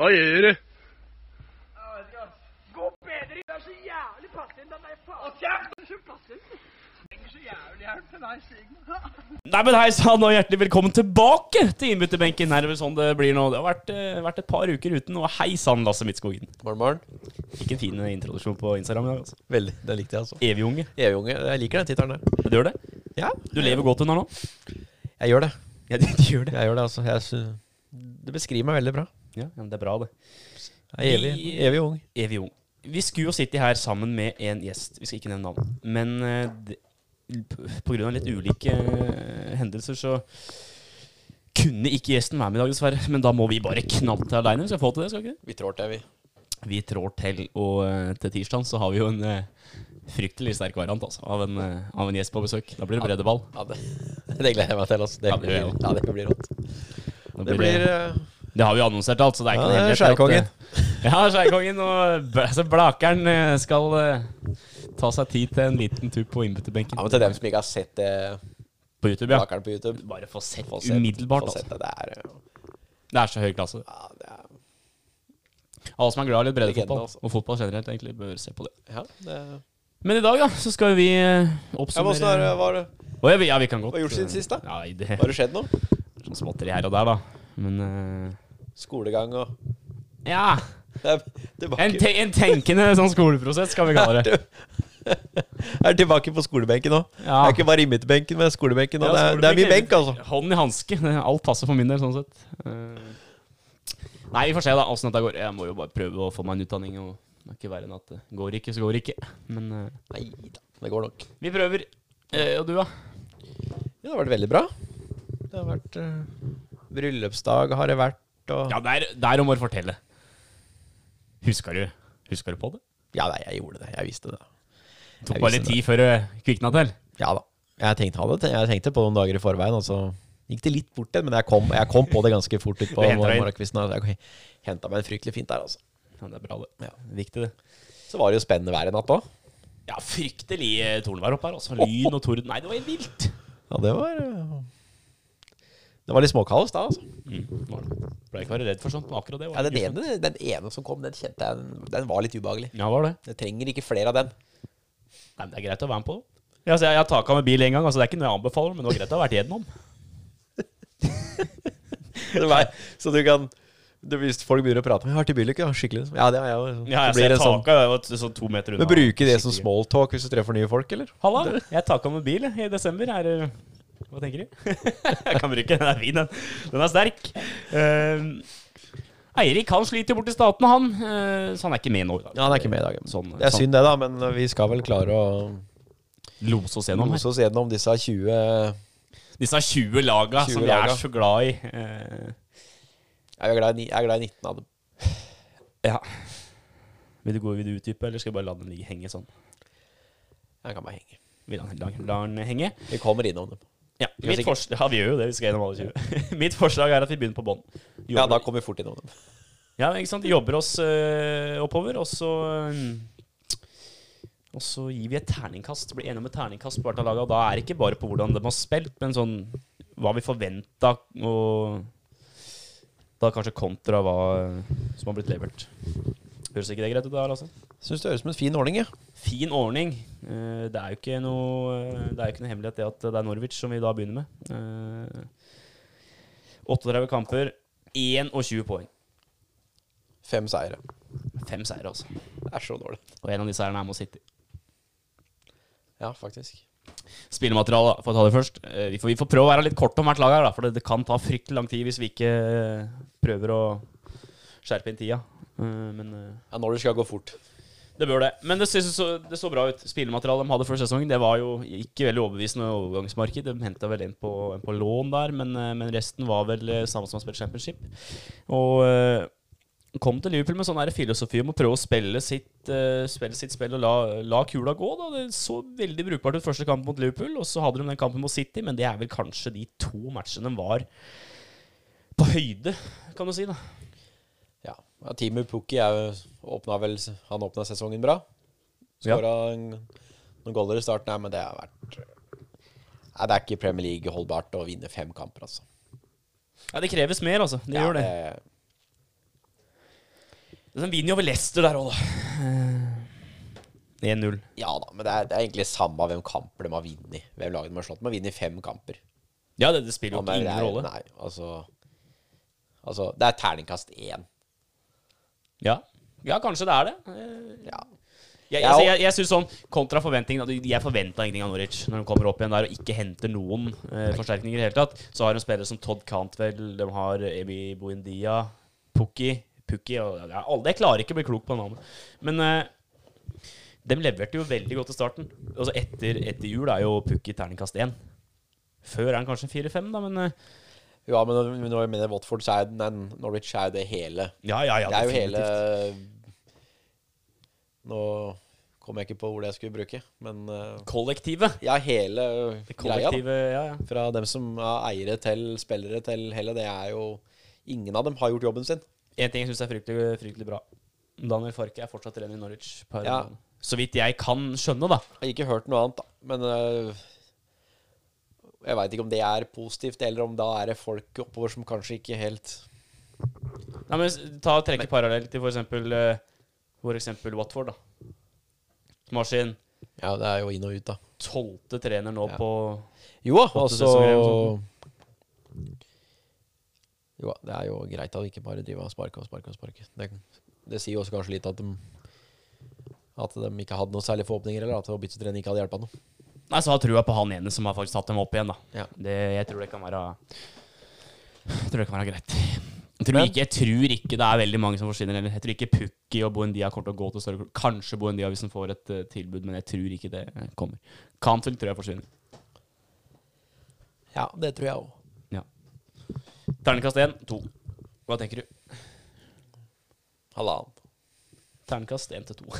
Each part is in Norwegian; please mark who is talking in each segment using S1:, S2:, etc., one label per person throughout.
S1: Hva gjør du?
S2: Jeg vet ikke, ass. Gå bedre i Det er så jævlig passiv. Den der faen. Hold kjeft! Det er så passiv. Trenger så jævlig hjelp til deg, Sigmund.
S3: Nei, men Hei sann, og hjertelig velkommen tilbake til innbytterbenken. Her er det sånn det blir nå. Det har vært, eh, vært et par uker uten, og hei sann, Lasse Midtskogen.
S4: Morgen, morgen.
S3: Ikke en fin eh, introduksjon på Instagram i dag, altså.
S4: Veldig. Det likte jeg, altså.
S3: Evig-unge.
S4: Evig-unge. Jeg liker den tittelen der.
S3: Du gjør det?
S4: Ja,
S3: Du lever godt under nå?
S4: jeg gjør det.
S3: Ja, du gjør
S4: Jeg gjør det, altså. Jeg sy- det beskriver meg veldig bra.
S3: Ja, men det er bra, det.
S4: Jeg er evig,
S3: Vi-
S4: evig ung.
S3: Evig ung. Vi skulle jo sitte her sammen med en gjest, vi skal ikke nevne navn. Men eh, det- p- på grunn av litt ulike eh, hendelser så kunne ikke gjesten være med i dag, dessverre. Men da må vi bare knalle til aleine. Vi skal få til det, skal vi ikke det?
S4: Vi trår til, vi.
S3: Vi trår til, og eh, til tirsdag så har vi jo en eh, fryktelig sterk variant altså, av, en, eh, av en gjest på besøk. Da blir det breddeball.
S4: Ja, det, det gleder jeg meg til. altså. Det
S3: Ja, det
S4: blir,
S3: gjør jeg.
S4: ja, det blir rått.
S3: Da
S4: Det blir eh,
S3: det har vi jo annonsert alt, så det er ikke
S4: Ja, det er
S3: noe hemmelighet at, eh, Ja, Skjærkongen. Og bl- altså, Blakeren eh, skal eh, ta seg tid til en liten tur på
S4: Ja,
S3: innbytterbenken
S4: men til dem som ikke har sett det
S3: på YouTube. ja.
S4: bakeren på YouTube
S3: Bare få sett
S4: få sett-
S3: umiddelbart.
S4: få sett
S3: Altså.
S4: det. Det er, eh,
S3: Det er så høy klasse.
S4: ja, det er,
S3: Alle som er glad i litt
S4: Legende,
S3: breddefotball,
S4: altså.
S3: og fotball generelt, egentlig bør se på det.
S4: ja, det er. eh,
S3: Men i dag, ja, så skal vi eh,
S4: Ja, men åssen er det?
S3: oppsummere
S4: Hva har det-
S3: Å, ja, vi- ja, vi kan godt
S4: hva har du gjort siden
S3: eh,
S4: sist, da?
S3: Nei, det
S4: hva har det skjedd nå?
S3: Sånn småtteri her og der, da. Men eh,
S4: Skolegang og
S3: ja.
S4: Det er tilbake,
S3: En, te en tenkende sånn skoleprosess, skal vi kalle det.
S4: er tilbake på skolebenken nå.
S3: Ja.
S4: Det er ikke bare innbytterbenken, men skolebenken. nå. det, er, det er mye benk, altså.
S3: Hånd i hanske. Alt passer for min del, sånn sett. Eh, Nei, vi får se da åssen dette går. Jeg må jo bare prøve å få meg en utdanning. Og det er ikke verre enn at det går ikke, så går det ikke. Men eh,
S4: Nei da, det går nok.
S3: vi prøver. Eh, og du, da?
S4: Ja, det har vært veldig bra. Det har vært eh, Bryllupsdag har det vært, og
S3: Ja, der, der må du fortelle. Husker du, husker du på det?
S4: Ja, nei, jeg gjorde det. Jeg visste det.
S3: Det tok
S4: Jeg
S3: bare
S4: visste
S3: litt tid før det kvikna til.
S4: Ja da. Jeg tenkte, hadde, te- jeg tenkte på noen dager i forveien, og så gikk det litt bort igjen. Men jeg kom, jeg kom på det ganske fort utpå
S3: Du hentet deg inn.
S4: morgenkvisten. og Jeg henta meg en fryktelig fint der, altså.
S3: Ja, det er bra, det. Viktig, det.
S4: Så var det jo spennende vær i natt òg.
S3: Ja, fryktelig eh, tordenvær oppe her. Altså, lyn og torden. Nei, det var helt vilt.
S4: Ja, det var eh, Det var litt småkaos da, altså.
S3: Mm, Var det. Ble ikke være redd for sånt, men akkurat det var
S4: Ja, den,
S3: grusomt.
S4: ene, den ene som kom, den kjente jeg den, den var litt ubehagelig.
S3: Ja, var det.
S4: Jeg trenger ikke flere av den.
S3: Nei, men det er greit å være med på. Ja, altså, jeg, jeg har taka med bil en gang, altså, det er ikke noe jeg anbefaler, men det var greit å ha vært gjennom.
S4: Nei, så du kan du, Hvis folk begynner å prate med 'Har til bilulykke', ja, skikkelig. Ja, det har jeg òg.
S3: Ja,
S4: blir
S3: jeg
S4: det sånn
S3: taka jeg var t- sånn to meter unna.
S4: Men bruke det som
S3: Skikkelig.
S4: smalltalk hvis du treffer nye folk, eller?
S3: Halla, jeg taka med bil jeg, i desember. Er, det- hva tenker du? jeg kan bruke den, den er fin, den. Den er sterk. Eh, Ehm, Eirik han sliter jo borti staten, han. eh, så han er ikke med nå. i dag.
S4: Ja, han er ikke med i dag. men
S3: Sånn-
S4: det er
S3: sånn.
S4: synd det, da, men vi skal vel klare å
S3: Lose oss gjennom her.
S4: lose oss gjennom disse 20 Jeg
S3: Disse 20 laga
S4: 20
S3: som vi er
S4: laga.
S3: så glad i. eh,
S4: er glad i, ni- jeg er glad i 19 av dem.
S3: Ja. Vil du gå vil du utdype, eller skal jeg bare la den ligge henge sånn?
S4: Jeg kan bare henge.
S3: Vil han, la, la den henge?
S4: Vi kommer innom dem.
S3: Ja,
S4: Vi kan
S3: mitt forslag, ja, vi gjør jo det. Vi skal gjennom alle 20. mitt forslag er at vi begynner på bånn.
S4: Ja, da kommer vi fort innom dem.
S3: Ja, ikke sant? Jobber oss øh, oppover, og så øhm, Og så gir vi et terningkast. Blir enige om et terningkast på hvert av lagene. Og da er det ikke bare på hvordan de har spilt, men sånn hva vi forventa, og da kanskje kontra hva øh, som har blitt levert. Høres ikke det greit ut? der, altså?
S4: Syns det høres ut som en fin ordning, jeg.
S3: Fin ordning. Eh, Det er jo ikke noe, det er jo ikke noe hemmelighet det at det er Norwich som vi da begynner med. Eh, 38 kamper, 21 poeng.
S4: Fem seire.
S3: Fem seire, altså.
S4: Det er så dårlig.
S3: Og en av de seirene er mot City.
S4: Ja, faktisk.
S3: Spillemateriale, da, for å ta det først. Eh, Vi får, vi får prøve å være litt kort om hvert lag her, da, for det, det kan ta fryktelig lang tid hvis vi ikke eh, prøver å skjerpe inn tida. Eh, Men eh,
S4: Ja, når du skal gå fort.
S3: Det bør det. Men det, synes- så, det så bra ut. Spillematerialet de hadde før sesongen, det var jo ikke veldig overbevisende overgangsmarked. De henta vel en på, en på lån der, men, eh, men resten var vel eh, samme som har spilt championship. Og eh, kom til Liverpool med sånn her filosofi om å prøve å spille sitt, eh, spille sitt spill og la, la kula gå. Da. Det så veldig brukbart ut første kamp mot Liverpool, og så hadde de den kampen mot City, men det er vel kanskje de to matchene de var på høyde, kan du si. da.
S4: Ja. ja Timu Pukki er jo- åpna vel Han åpna sesongen bra.
S3: Ja.
S4: Skåra noen goller i starten her, men det har vært Nei, Det er ikke Premier League holdbart å vinne fem kamper, altså. eh,
S3: Ja, Det kreves mer, altså. Det gjør det.
S4: det.
S3: De vinner jo over Leicester der òg, da. Eh, 1-0.
S4: Ja da, men det er, det er egentlig samme hvem kamper de har vunnet. Hvem laget de har slått. De har vunnet fem kamper.
S3: Ja, det, det spiller jo
S4: Ja, men
S3: ikke ingen
S4: det er-
S3: rolle.
S4: Nei, altså Altså, det er terningkast én.
S3: Ja. ja, kanskje det er det. Eh,
S4: Ja.
S3: Jeg,
S4: Ja,
S3: altså,
S4: og-
S3: jeg, jeg synes sånn, Kontra forventningene at Jeg forventa ingenting av Norwich når de kommer opp igjen der og ikke henter noen eh, forsterkninger. i det hele tatt Så har de spillere som Todd Cantwell, de har Ebi Buendia, Pukki Pukki og, ja, alle, Jeg klarer ikke å bli klok på navnet. Men eh, de leverte jo veldig godt i starten. Altså Etter, etter jul er jo Pukki terningkast én. Før er han kanskje fire-fem, da, men eh,
S4: ja, men når- når jeg mener Watford, så er den nei, Norwich er jo det hele.
S3: ja, ja, ja,
S4: det er jo
S3: definitivt.
S4: hele Nå kom jeg ikke på ordet jeg skulle bruke, men eh,
S3: Kollektivet.
S4: Ja, hele
S3: Det
S4: greia. Da.
S3: kollektive, ja, ja.
S4: Fra dem som er eiere til spillere til hele, det er jo Ingen av dem har gjort jobben sin.
S3: En ting jeg syns er fryktelig, fryktelig bra. Daniel Farke er fortsatt trener i Norwich. Per
S4: Ja.
S3: Så vidt jeg kan skjønne, da.
S4: Jeg har ikke hørt noe annet, da. Men øh, jeg veit ikke om det er positivt, eller om da er det folk oppover som kanskje ikke helt
S3: Nei, men s- ta og Trekke parallell til for eksempel, eh, for eksempel Watford. da Som har sin
S4: Ja, det er jo inn og ut, da.
S3: tolvte trener nå
S4: Ja.
S3: på
S4: Jo da, altså
S3: sesonger eller noe
S4: Jo da, det er jo greit at de ikke bare driver og sparker og sparker og sparker. Det, det sier jo også kanskje litt at de at de ikke hadde noen særlige forhåpninger, eller at å bytte trener ikke hadde hjulpet noe.
S3: Nei, så har trua på han ene som har faktisk tatt dem opp igjen, da.
S4: Ja.
S3: Det, jeg tror det kan være Jeg tror det kan være greit. Jeg tror,
S4: Men-
S3: ikke, jeg tror ikke det er veldig mange som forsvinner. Eller. Jeg tror ikke Pukki og Boendia kommer til å gå til større klubb. Kanskje Boendia hvis han får et eh, tilbud, men jeg tror ikke det kommer. Cantwell tror jeg forsvinner.
S4: Ja, det tror jeg òg.
S3: Ja. Ternekast 1, 2. Hva tenker du?
S4: Halvannen.
S3: Ternekast 1 til 2.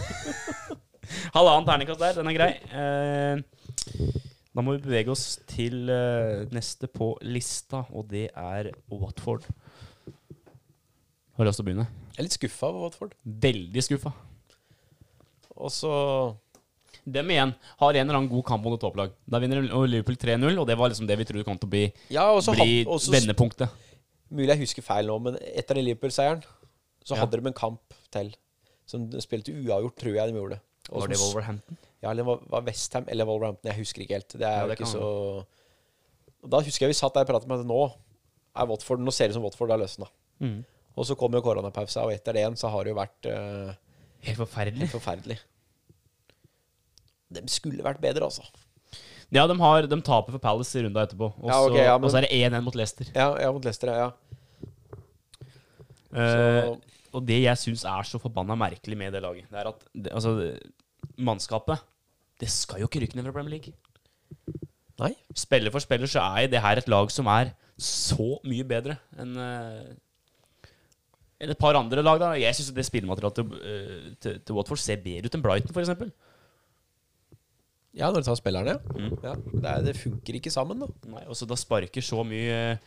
S3: Halvannen ternekast der, den er grei. Eh, da må vi bevege oss til eh, neste på lista, og det er Watford. Har du lyst til å begynne?
S4: Jeg er litt skuffa over Watford.
S3: Veldig skuffa.
S4: Og så
S3: Dem igjen har en eller annen god kamp mot et topplag. Da vinner Liverpool 3-0, og det var liksom det vi trodde kom til å bli,
S4: Ja, og så
S3: bli
S4: hap- og så-
S3: vendepunktet.
S4: Mulig jeg husker feil nå, men etter den Liverpool-seieren så
S3: Ja.
S4: hadde de en kamp til. Som de spilte uavgjort, tror jeg de gjorde. Og
S3: Var det
S4: som s-
S3: Wolverhampton?
S4: Ja, eller var- var Westham eller Wolverhampton. Jeg husker ikke helt. Det er
S3: Ja,
S4: jo
S3: det
S4: ikke
S3: kan
S4: så Og Da husker jeg vi satt der og pratet med at nå er Watford Nå ser det ut som Watford har løsna.
S3: Mm.
S4: Og så kom jo koronapausa, og etter det igjen så har det jo vært eh,
S3: Helt forferdelig.
S4: helt forferdelig. De skulle vært bedre, altså.
S3: Ja, de, har, de taper for Palace i runda etterpå. Og så
S4: Ja, ok, ja, men-
S3: og så er det 1-1 mot Leicester.
S4: Ja, ja mot Leicester, ja.
S3: Eh, og det jeg syns er så forbanna merkelig med det laget, det er at det, altså, det- mannskapet Det skal jo ikke rykke ned fra Premier League.
S4: Nei.
S3: Spiller for spiller så er det her et lag som er så mye bedre enn eh, enn et par andre lag. da Jeg syns det spillematerialet til, eh, til, til Watford ser bedre ut enn Brighton, f.eks.
S4: Ja, når du tar spillerne. Ja, det, er, det funker ikke sammen, da.
S3: Nei, og så da sparker så mye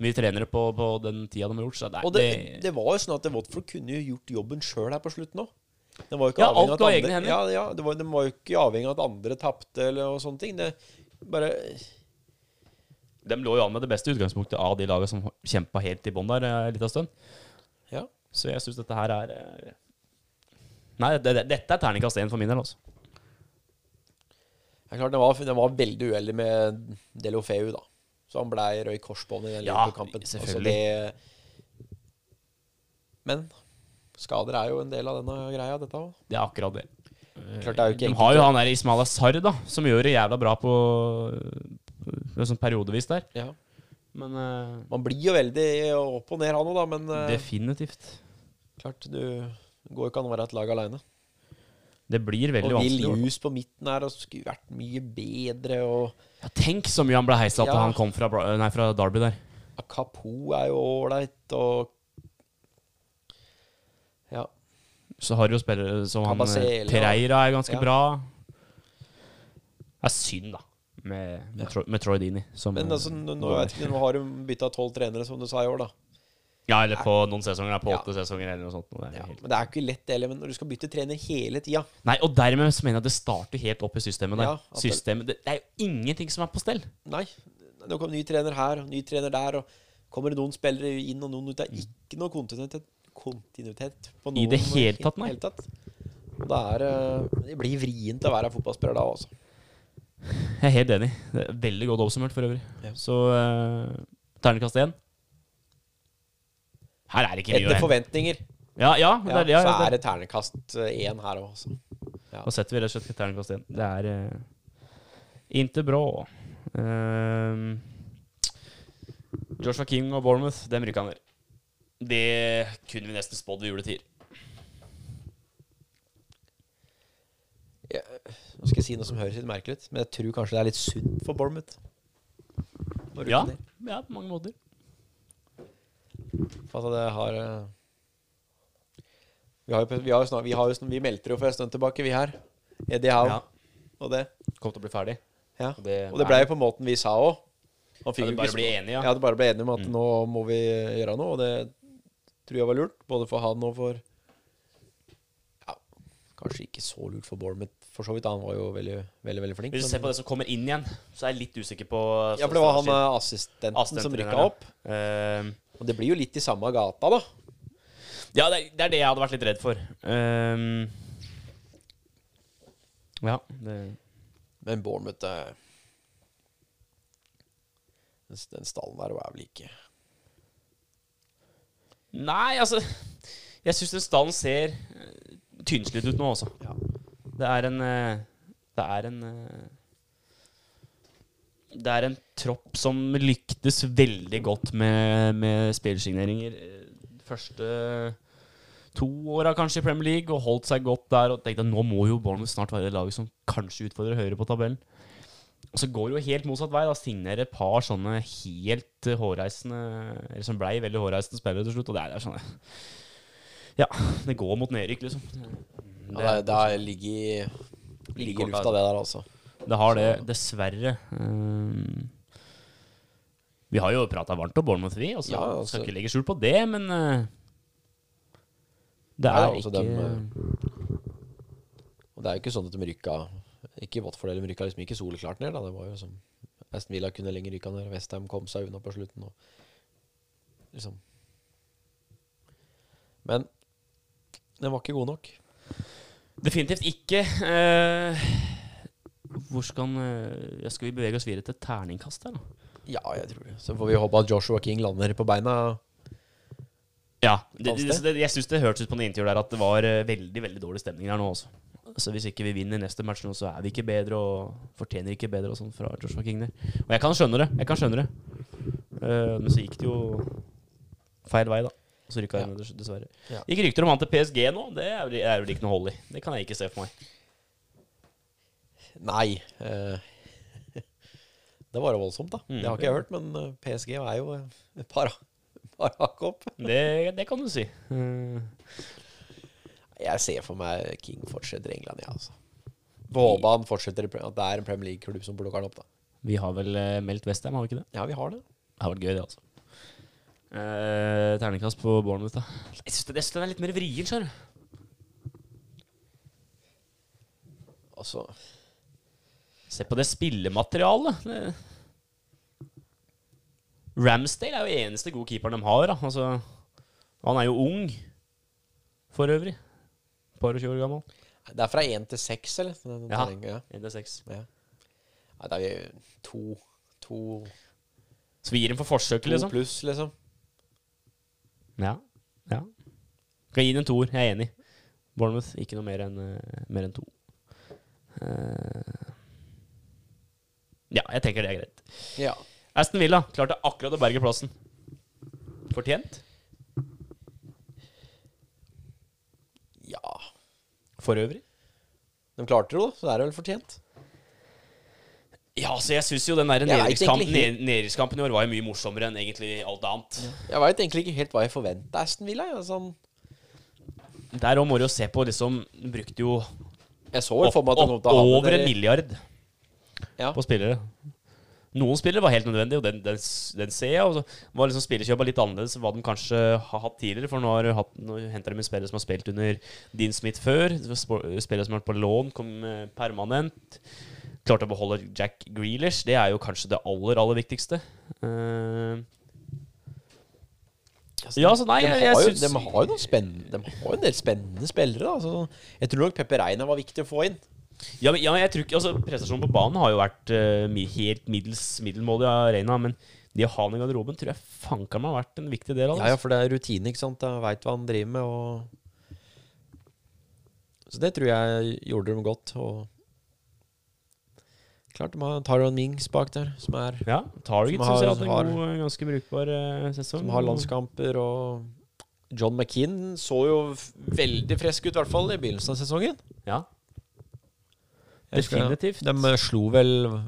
S3: Mye trenere på, på den tida de har gjort, så det, er-
S4: Og det, det var jo sånn at Watford kunne jo gjort jobben sjøl her på slutten òg. Det var jo ikke
S3: Ja, alt
S4: avhengig av
S3: lå i
S4: at
S3: egne
S4: andre,
S3: hender.
S4: ja, ja, det var, de var jo ikke avhengig av at andre tapte eller og sånne ting. Det bare
S3: De lå jo an med det beste utgangspunktet av de lagene som kjempa helt i bånn der eh, en liten stund.
S4: Ja.
S3: Så jeg syns dette her er eh, Nei, det, det, dette er terningkast én for min del, altså.
S4: Det er klart, den var, den var veldig uheldig med Delofeu, da. Så han blei rød i korsbåndet i den
S3: Ja,
S4: Liverpool-kampen. Altså,
S3: selvfølgelig.
S4: det Men skader er jo en del av denne greia, dette òg.
S3: Det er akkurat det.
S4: Klart det er jo ikke
S3: Eh, De
S4: enkelt.
S3: har jo han der Ismail Azar, da, som gjør det jævla bra på, på sånn periodevis der.
S4: Ja.
S3: Men eh,
S4: Man blir jo veldig opp og ned, han òg, da, men eh,
S3: definitivt.
S4: klart du det går jo ikke an å være et lag aleine.
S3: Det blir veldig
S4: og
S3: vanskelig. i
S4: Will
S3: år.
S4: Hughes på midten her og skulle vært mye bedre. Og
S3: Ja, tenk så mye han ble heisa opp da
S4: Ja.
S3: han kom fra, Bra- eh, nei, fra Derby der.
S4: Akapo er jo ålreit, og Ja.
S3: Så har du jo spillere som han eh,
S4: Kabasele, ja.
S3: Pereira er ganske
S4: Ja.
S3: bra. Det er synd, da, med, med, Troy, med Troy Dini. Som,
S4: Men altså, nå, nå, vet ikke, nå har de bytta tolv trenere, som du sa i år, da.
S3: Ja, eller på noen sesonger. da, På
S4: Ja.
S3: åtte sesonger eller noe sånt. og Det er
S4: Ja.
S3: helt...
S4: Men det er ikke lett, det heller. Men når du skal bytte trener hele tida
S3: Nei, og dermed så mener jeg at det starter helt opp i systemet der.
S4: Ja, at det-
S3: systemet, det, det er jo ingenting som er på stell.
S4: Nei, nå kommer ny trener her og ny trener der, og kommer det noen spillere inn og noen ut. Det er ikke noe kontinuitet, kontinuitet på
S3: Mm. I det hele tatt, nei.
S4: i hele tatt. Og det er eh, Det blir vrient å være fotballspiller da, altså.
S3: Jeg er helt enig. Det er veldig godt oppsummert for øvrig.
S4: Ja.
S3: Så uh, ternekast én. Her er det ikke mye å
S4: Etter
S3: hente.
S4: forventninger
S3: Ja, ja, det
S4: ja,
S3: er, ja,
S4: så
S3: ja,
S4: er
S3: det.
S4: det ternekast én her òg, altså.
S3: Da setter vi rett og slett ternekast én. Det er uh, inte bra. Ehm, Joshua King og Bournemouth, dem rykka ned. Det kunne vi nesten spådd ved juletid.
S4: Nå skal jeg si noe som høres litt merkelig ut, men jeg tror kanskje det er litt sunt for Bournemouth. Å rykke
S3: Ja,
S4: ned.
S3: ja, på mange måter.
S4: For Altså, det har eh, Vi har jo, vi har jo snak- vi, har jo, sn- vi meldte jo for en stund tilbake, vi her. Eddie Howe
S3: Ja.
S4: og det.
S3: Kom til å bli ferdig.
S4: Ja.
S3: Og det-
S4: og det ble jo på måten vi sa òg.
S3: Ja, det bare ble enige, ja. Mm.
S4: ja. det bare ble enige om at nå må vi gjøre noe, og det tror jeg var lurt. Både for han og for Ja, kanskje ikke så lurt for Bournemouth, for så vidt. Han var jo veldig, veldig, veldig flink.
S3: Hvis du
S4: men-
S3: ser på det som kommer inn igjen, så er jeg litt usikker på
S4: ja, for det var han eh, assistenten som
S3: Assistentreneren,
S4: rykka
S3: ja.
S4: opp.
S3: Ehm,
S4: Og det blir jo litt i samme gata, da.
S3: Ja, det, er- det er det jeg hadde vært litt redd for. Ehm, ja, det,
S4: Men Bournemouth eh, den, den stallen der var vel ikke
S3: Nei, altså Jeg syns den stallen ser eh, tynnslitt ut nå, altså.
S4: Ja.
S3: Det er en eh, Det er en eh, Det er en tropp som lyktes veldig godt med, med spillsigneringer. eh, Første to åra kanskje i Premier League, og holdt seg godt der. Og tenkte nå må jo Bournemouth snart være det laget som kanskje utfordrer høyre på tabellen. Og så går det jo helt motsatt vei. da Signerer et par sånne helt eh, hårreisende Eller som blei veldig hårreisende spillere til slutt. Og det er, det er sånn Ja, det går mot nedrykk, liksom.
S4: Det, ja, det, det har ligget, ligget i
S3: kort,
S4: lufta, det der, altså.
S3: Det har det, dessverre. Ehm, vi har jo prata varmt om Bournemouth, vi. Altså,
S4: Ja, altså.
S3: Skal ikke legge skjul på det, men eh, Det
S4: Nei,
S3: er
S4: altså,
S3: ikke
S4: dem, Og det er jo ikke sånn at de rykka Ikke Watford eller de rykka liksom ikke soleklart ned, da. Det var jo som Aston Villa kunne lenger rykka ned, Westham kom seg unna på slutten og liksom Men den var ikke god nok.
S3: Definitivt ikke. Eh, hvor skal han eh, Skal vi bevege oss videre til terningkast her, da?
S4: Ja, jeg tror det. Så får vi håpe at Joshua King lander på beina.
S3: Ja. Det,
S4: Fanns
S3: det,
S4: det?
S3: det, jeg syns det hørtes ut på det intervjuet der at det var eh, veldig veldig dårlig stemning her nå også. Så hvis ikke vi vinner neste match nå, så er vi ikke bedre og fortjener ikke bedre og sånn fra Joshua King der. Og jeg kan skjønne det. Jeg kan skjønne det. Eh, men så gikk det jo feil vei, da. Så rykka jeg
S4: Ja.
S3: ned, dess- dessverre.
S4: Ja.
S3: Gikk rykter om han til PSG nå. Det er vel- er vel ikke noe hold i. Det kan jeg ikke se for meg.
S4: Nei. eh, det var jo voldsomt, da.
S3: Mm.
S4: det har ikke jeg hørt, men eh, PSG er jo eh, et par, par hakk opp.
S3: Det, det kan du si. Eh,
S4: Jeg ser for meg King fortsetter i England, ja, altså. Får Håpe han fortsetter i Pre- at det er en Premier League-klubb som plukker han opp, da.
S3: vi har vel eh, meldt Westham, har vi ikke det?
S4: Ja, vi har det.
S3: Det har vært gøy, det, altså. Eh, terningkast på Bournemouth, da. Jeg syns den jeg synes den er litt mer vrien, skjønner du.
S4: Altså,
S3: Se på det spillematerialet. Det- Ramsdale er jo eneste gode keeperen de har. Da. Altså, han er jo ung for øvrig. Par og tjue år gammel.
S4: det er fra én til seks, eller? Den- den
S3: Ja.
S4: terrengen, ja.
S3: En til seks.
S4: ja. Nei, det er jo to, to,
S3: Så vi gir dem for forsøket,
S4: to
S3: liksom.
S4: pluss, liksom.
S3: Ja. ja. Kan gi den en toer. Jeg er enig. Bournemouth ikke noe mer enn eh, mer enn to. Eh, ja, jeg tenker det er greit.
S4: Ja.
S3: Aston Villa klarte akkurat å berge plassen. Fortjent?
S4: ja.
S3: For øvrig.
S4: De klarte det jo, da, så det er vel fortjent.
S3: Ja, så jeg syns jo den der
S4: Jeg vet
S3: nedrykkskampen
S4: egentlig
S3: ned- nedrykkskampen i år var jo mye morsommere enn egentlig alt annet.
S4: Jeg veit egentlig ikke helt hva jeg forventa Aston Villa. jeg, Sånn.
S3: Der òg må du jo se på liksom den Brukte jo
S4: Jeg så jo
S3: opp,
S4: for meg at han kom
S3: opp,
S4: til å havne
S3: over
S4: der
S3: en
S4: i-
S3: milliard
S4: Ja.
S3: på spillere. Noen spillere var helt nødvendige, og den, den, s- den ser jeg. Og så var liksom spillerkjøpa litt annerledes enn hva de kanskje har hatt tidligere. For nå, har du hatt, nå henter de en spiller som har spilt under Dean Smith før. Det var sp- Spillere som har vært på lån, kom eh, permanent. Klarte å beholde Jack Grealish. Det er jo kanskje det aller, aller viktigste. Eh,
S4: Altså,
S3: Ja, så nei, jeg, jeg
S4: har jo,
S3: syns
S4: de har jo noen spennende De har jo en del spennende spillere. Da. Så jeg tror nok Pepper Reina var viktig å få inn.
S3: Ja, men, ja, men jeg tror ikke altså, Prestasjonen på banen har jo vært eh, mi- helt middels middelmådig av Reina, men det å ha han i garderoben tror jeg fanken meg har vært en viktig del av det.
S4: Ja, ja, for det er rutine, ikke sant. Jeg veit hva han driver med, og Så det tror jeg gjorde dem godt. Og klart de har Taron Mings bak der, som, er,
S3: ja. Target
S4: Som
S3: syns jeg
S4: har-
S3: hadde en
S4: har-
S3: god, eh, ganske brukbar eh, sesong.
S4: som har landskamper, og John McKean så jo f- veldig frisk ut, i hvert fall i begynnelsen av sesongen.
S3: Ja.
S4: Jeg eh, husker det.
S3: Definitivt.
S4: De slo vel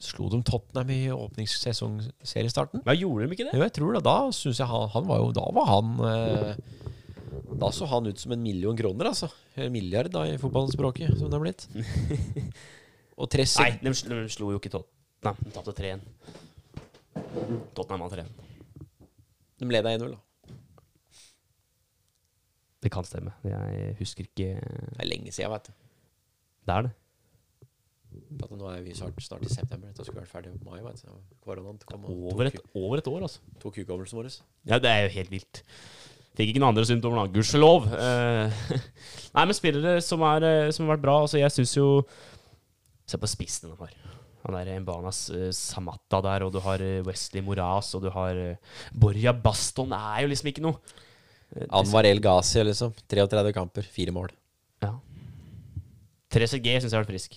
S4: Slo de Tottenham i åpningssesongseriestarten?
S3: ja, gjorde de ikke det?
S4: Jo, jeg tror det. Da synes jeg han, han var jo Da var han eh, Da så han ut som en million kroner, altså. En milliard, da, i fotballspråket, som det har blitt. Og Tressi
S3: Nei, de, sl- de slo jo ikke Tottenham. De tapte 3-1. Tottenham vant 3-1.
S4: De leda 1-0, da.
S3: Det kan stemme. Jeg husker ikke
S4: Det er lenge siden, vet du.
S3: Det er det.
S4: For At nå er vi snart, snart i september. Dette skulle vært ferdig i mai. Vet du. Koronaen kom og
S3: Over et,
S4: tok,
S3: over et år, altså.
S4: tok hukommelsen vår.
S3: Ja, det er jo helt vilt. Fikk ikke noen andre symptomer, da. Gudskjelov. Eh, Nei, men spillere som, er, eh, som har vært bra Altså, jeg syns jo Se på spissen de har. Han der Mbanas uh, Samata der, og du har eh, Wesley Moraz, og du har uh, Borja Baston er jo liksom ikke noe. Eh,
S4: Anwar El Ghazi, liksom. 33 kamper, fire mål.
S3: Ja. 3CG syns jeg har vært frisk.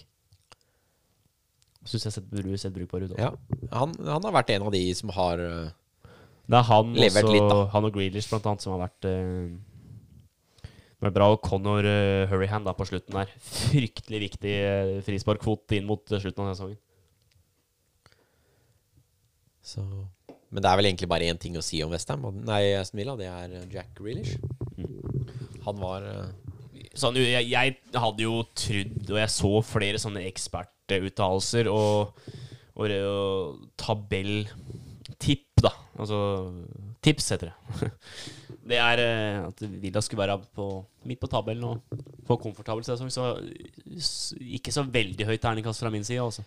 S3: Syns jeg har sett, bru- sett brukbar ut. også.
S4: Ja. Han, han har vært en av de som har eh,
S3: Det er han,
S4: Levert
S3: også,
S4: litt, da.
S3: han og Grealish blant annet som har vært uh, vært bra. Og Connor eh, Hurrihan da på slutten der. Fryktelig viktig eh, frisparkfot inn mot eh, slutten av sesongen.
S4: Så. Men det er vel egentlig bare én ting å si om Westham. Nei, Aston Villa, det er eh, Jack Grealish.
S3: Mm.
S4: Han var eh,
S3: Sånn, jeg, jeg hadde jo trodd, og jeg så flere sånne ekspertuttalelser og, og, re- og tabelltipp, da. Altså tips, heter det. Det er eh, at Villa skulle være på, midt på tabellen og få komfortabel sesong. Så s- ikke så veldig høyt terningkast fra min side, altså.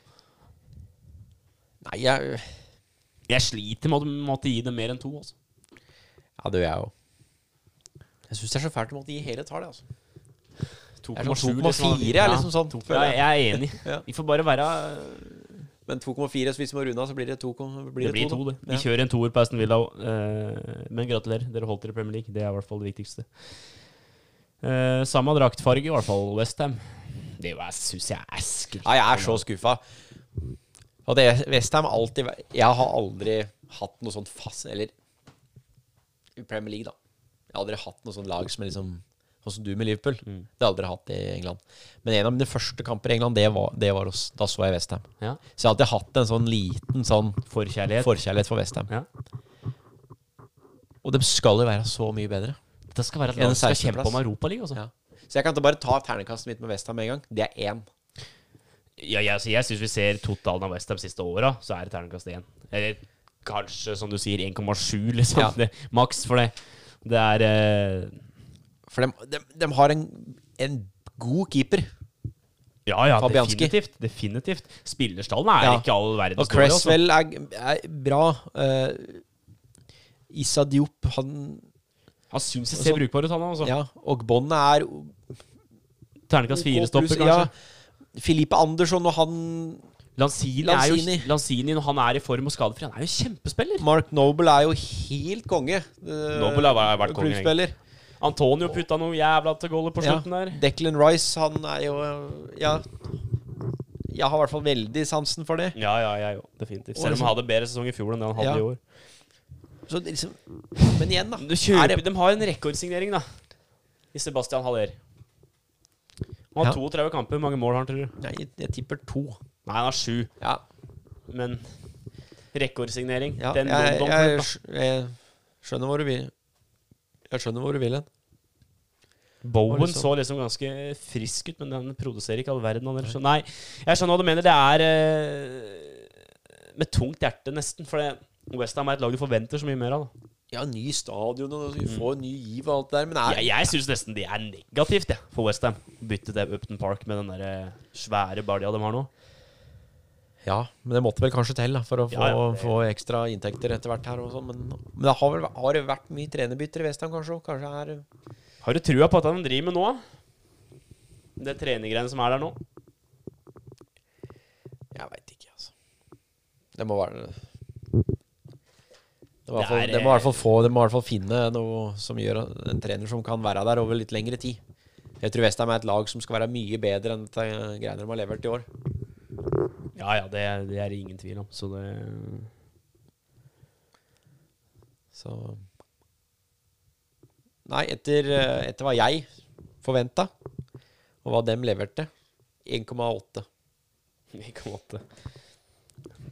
S4: Nei, jeg
S3: Jeg sliter med å måtte gi det mer enn to. Altså.
S4: Ja, det gjør jeg jo. Jeg syns det er så fælt å måtte gi hele tallet, altså. er
S3: 2,7
S4: sånn 2,4 er liksom sånn,
S3: Ja,
S4: føler jeg.
S3: jeg er enig.
S4: Ja.
S3: Vi får bare være
S4: Men 2,4, så hvis vi må runde av, så blir det 2. Blir
S3: Det blir to, det. Vi kjører en toer på Aston Villa. og, eh, men gratulerer, dere holdt dere i Premier League. Det er i hvert fall det viktigste. Eh, samme draktfarge, i hvert fall Westham. Det syns jeg er skummelt.
S4: Ja, jeg er så skuffa. Og det Westham har alltid vært- Jeg har aldri hatt noe sånt fast Eller i Premier League, da. Jeg har aldri hatt noe sånt lag som er liksom Sånn som du med Liverpool.
S3: Mm.
S4: Det har jeg aldri hatt i England. Men en av mine første kamper i England, det var, det var hos Da så jeg Westham.
S3: Ja.
S4: Så jeg har alltid hatt en sånn liten sånn
S3: Forkjærlighet.
S4: forkjærlighet for Westham.
S3: Ja.
S4: Og de skal jo være så mye bedre.
S3: Dette skal være et
S4: En
S3: lag som skal
S4: sekstendeplass.
S3: kjempe om Europaligaen, altså.
S4: Ja. Så jeg kan ikke bare ta ternekastet mitt med Westham med en gang. Det er én.
S3: Ja, jeg, altså, jeg syns vi ser totalen av Westham siste åra, så er det terningkast 1. Eller kanskje, som du sier, 1,7, liksom.
S4: Ja.
S3: Det, maks for det. Det er eh,
S4: For de, de, de har en, en god keeper.
S3: Ja, ja,
S4: Fabianski.
S3: definitivt. Definitivt. Spillerstallen er
S4: Ja.
S3: ikke all verdens
S4: Og
S3: dårlig, altså.
S4: Cresswell er, er bra. Uh, Issa Diop, han
S3: altså. Han syns jeg
S4: og
S3: ser
S4: sånn.
S3: brukbar ut, han altså.
S4: Ja. Og Bonnet er
S3: Terningkast
S4: OK
S3: fire-stopper,
S4: pluss,
S3: kanskje.
S4: Ja. Filipe Andersson og han
S3: Lanzini, er
S4: Lanzini.
S3: jo Lanzini, når han er i form og skadefri, han er jo kjempespiller.
S4: Mark Noble er jo helt konge. Eh,
S3: Noble har vært- vært konge,
S4: klubbspiller.
S3: Antonio putta noe jævla til goalet på
S4: Ja.
S3: slutten der.
S4: Declan Rice, han er jo Ja. Jeg har i hvert fall veldig sansen for det.
S3: Ja, ja, jeg òg. Definitivt.
S4: Og
S3: Selv om
S4: liksom-
S3: han hadde bedre sesong i fjor enn det han hadde
S4: Ja.
S3: i år.
S4: Så det liksom, men igjen, da.
S3: Du kjøper,
S4: er det-
S3: De har en rekordsignering, da. I Sebastian Haller. Han har
S4: Ja.
S3: 32 kamper. Hvor mange mål har han, tror du?
S4: Nei, jeg, jeg tipper to.
S3: Nei, han har sju.
S4: Ja.
S3: Men rekordsignering
S4: ja
S3: Den
S4: jeg,
S3: London
S4: jeg,
S3: Club,
S4: skj- jeg skjønner hvor du vil. Jeg skjønner hvor du vil hen.
S3: da. Bowen
S4: var liksom-
S3: så liksom ganske frisk ut, men han produserer ikke all verden. Han, eller så. Nei, jeg skjønner hva du mener. Det er eh, med tungt hjerte, nesten. For Westham er et lag du forventer så mye mer av. Da.
S4: Ja, ny stadion og vi får ny giv og alt det der, men
S3: Jeg, jeg syns nesten det er negativt jeg, for Westham. Bytte til Upton Park med den der eh, svære balja de har nå.
S4: Ja, men det måtte vel kanskje til da, for å få,
S3: Ja, ja, det-
S4: få ekstra inntekter etter hvert her. og sånn, Men, men det har, vel, har det vært mye trenerbytter i Westham, kanskje? også? Kanskje er
S3: Har du trua på at han driver med nå? Det trenergreiene som er der nå?
S4: Jeg veit ikke, altså. Det må være Det må i hvert
S3: Det
S4: fall-
S3: er-
S4: det eh, må i hvert fall få Det må i hvert fall finne noe som gjør at en trener som kan være der over litt lengre tid. Jeg tror Westham er et lag som skal være mye bedre enn de greiene de har levert i år.
S3: Ja, ja, det, det er det ingen tvil om. Så det
S4: Så Nei, etter, eh, etter hva jeg forventa, og hva dem leverte 1,8.
S3: Vi kan måtte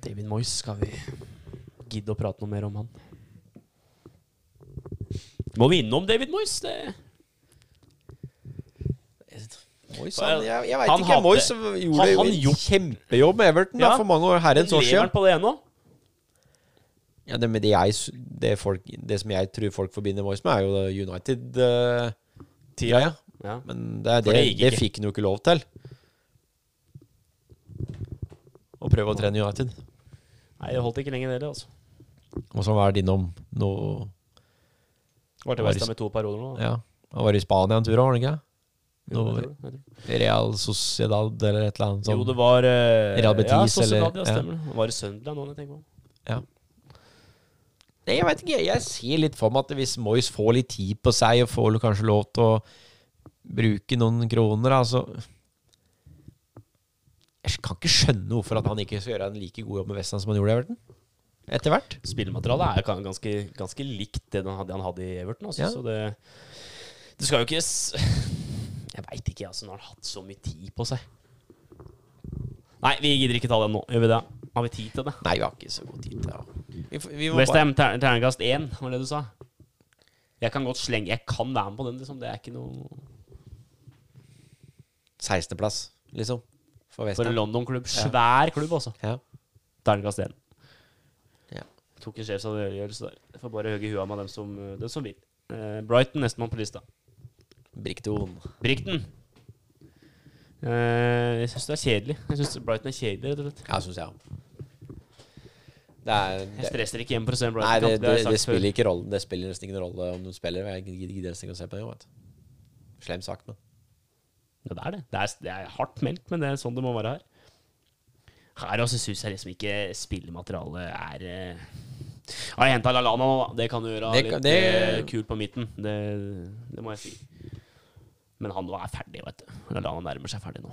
S3: David Moyes, skal vi gidde å prate noe mer om han? Må vi innom David Moyes? Det
S4: Moyes, han, jeg jeg veit
S3: Han
S4: ikke.
S3: hadde-
S4: Moyes gjorde
S3: han-
S4: jo
S3: han
S4: en
S3: gjort-
S4: kjempejobb med Everton da,
S3: Ja,
S4: for mange år, herrens år
S3: Lever
S4: siden.
S3: han på det ennå?
S4: Ja, det, men det, jeg, s- det, folk, det som jeg tror folk forbinder Moyes med, er jo det United. eh, tida, ja.
S3: Ja.
S4: Men det, er
S3: For
S4: det,
S3: det gikk
S4: det
S3: ikke.
S4: fikk han jo ikke lov til. Å prøve å trene United.
S3: Nei, det holdt ikke lenge, det heller. Altså.
S4: Og så var det innom noe
S3: Var til
S4: Var i
S3: Western med to perioder nå. da.
S4: Ja, han var i Spania en tur, var han ikke?
S3: Jo, jeg
S4: Noe
S3: tror det, jeg tror det.
S4: Real Sociedad eller et eller annet sånt.
S3: Jo, det var eh,
S4: Real Betis,
S3: ja, Sociedad,
S4: eller-
S3: ja, stemmer. det. Det var i Sunderland nå, jeg tenker på.
S4: Ja. Nei, jeg veit ikke. Jeg ser litt for meg at hvis Moyes får litt tid på seg, og får kanskje lov til å bruke noen kroner, altså Jeg kan ikke skjønne hvorfor at han ikke skal gjøre en like god jobb med Westland som han gjorde i Everton. Etter hvert.
S3: Spillematerialet er jo ganske, ganske likt det han hadde, han hadde i Everton. Altså,
S4: Ja.
S3: Så det Du skal jo ikke s- Jeg veit ikke, altså, når han har hatt så mye tid på seg. Nei, vi gidder ikke ta den nå. Gjør vi det? Har vi tid til det?
S4: Nei, vi har ikke så god tid til det. Vi, får- vi må bare-
S3: Westham ter terningkast én, var det du sa? Jeg kan godt slenge Jeg kan være med på den, liksom. Det er ikke noe
S4: 16.-plass, liksom. For
S3: For en
S4: Westham.
S3: London-klubb. Svær klubb, altså.
S4: Ja.
S3: Terningkast én.
S4: Ja.
S3: Tok en sjefsavgjørelse der. Jeg får bare høye huet med dem som, dem som vil. Eh, Brighton, nestemann på lista.
S4: Brikton.
S3: Brikten. Eh, jeg syns det er kjedelig. Jeg synes Brighton er kjedelig, rett og slett.
S4: Ja, syns jeg. Det er
S3: Jeg
S4: det,
S3: stresser ikke hjem for å se en
S4: Nei, det,
S3: Brighton-kamp.
S4: det,
S3: har jeg sagt
S4: det,
S3: før.
S4: spiller ikke rollen, det spiller nesten ingen rolle om de spiller. Jeg gidder gidder nesten ikke å se på det. vet du. Slem sagt, men.
S3: Ja, det er det. Det er, det er hardt meldt, men det er sånn det må være her. Her også syns jeg liksom ikke spillematerialet er eh, Har jeg henta Lallana nå, da? Det kan du gjøre
S4: Det kan-
S3: litt eh,
S4: det-
S3: kult på midten. Det, det må jeg si. Men han nå er ferdig, vet du. Lallana nærmer seg ferdig nå.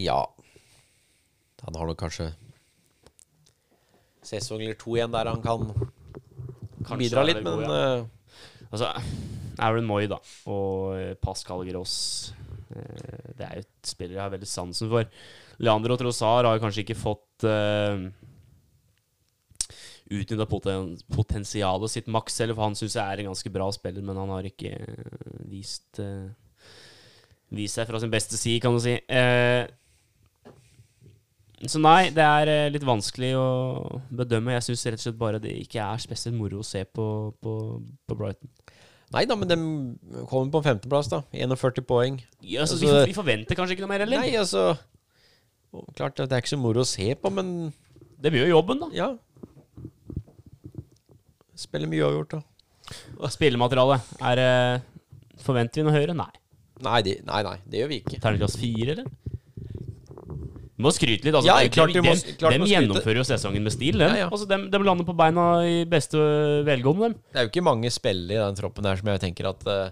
S4: Ja. Han har nok kanskje sesong eller to igjen der han kan
S3: Kanskje
S4: bidra
S3: er
S4: litt,
S3: det
S4: men eh,
S3: god, ja. Altså, Aaron Moy da og eh, Pascal Gross eh, Det er jo et spillere jeg har veldig sansen for. Leandro Trossar har jo kanskje ikke fått uh, utnytta poten potensialet sitt maks, eller for han syns jeg er en ganske bra spiller, men han har ikke eh, vist eh, Vist seg fra sin beste side, kan du si. Eh, så nei, det er eh, litt vanskelig å bedømme. Jeg syns rett og slett bare det ikke er spesielt moro å se på, på, på Brighton.
S4: Nei da, men de kommer på en femteplass, da. 41 poeng.
S3: Ja, så
S4: Altså,
S3: vi, for- vi forventer kanskje ikke noe mer, eller?
S4: Nei, altså Klart at det er ikke så moro å se på, men
S3: Det blir jo jobben, da.
S4: ja. Spiller mye uavgjort, da.
S3: Spillematerialet. Er, eh, forventer vi noe høyere? Nei.
S4: Nei, de, nei, nei, det gjør vi ikke.
S3: Terningkast fire, eller? Vi må skryte litt. Altså,
S4: Ja,
S3: De-
S4: klart
S3: de,
S4: vi må-
S3: dem-
S4: klart vi
S3: dem
S4: må skryte.
S3: gjennomfører jo sesongen med stil. Dem.
S4: Ja, ja.
S3: Altså, dem, dem lander på beina i beste velgående. Dem.
S4: Det er jo ikke mange spillere i den troppen her som jeg tenker at eh,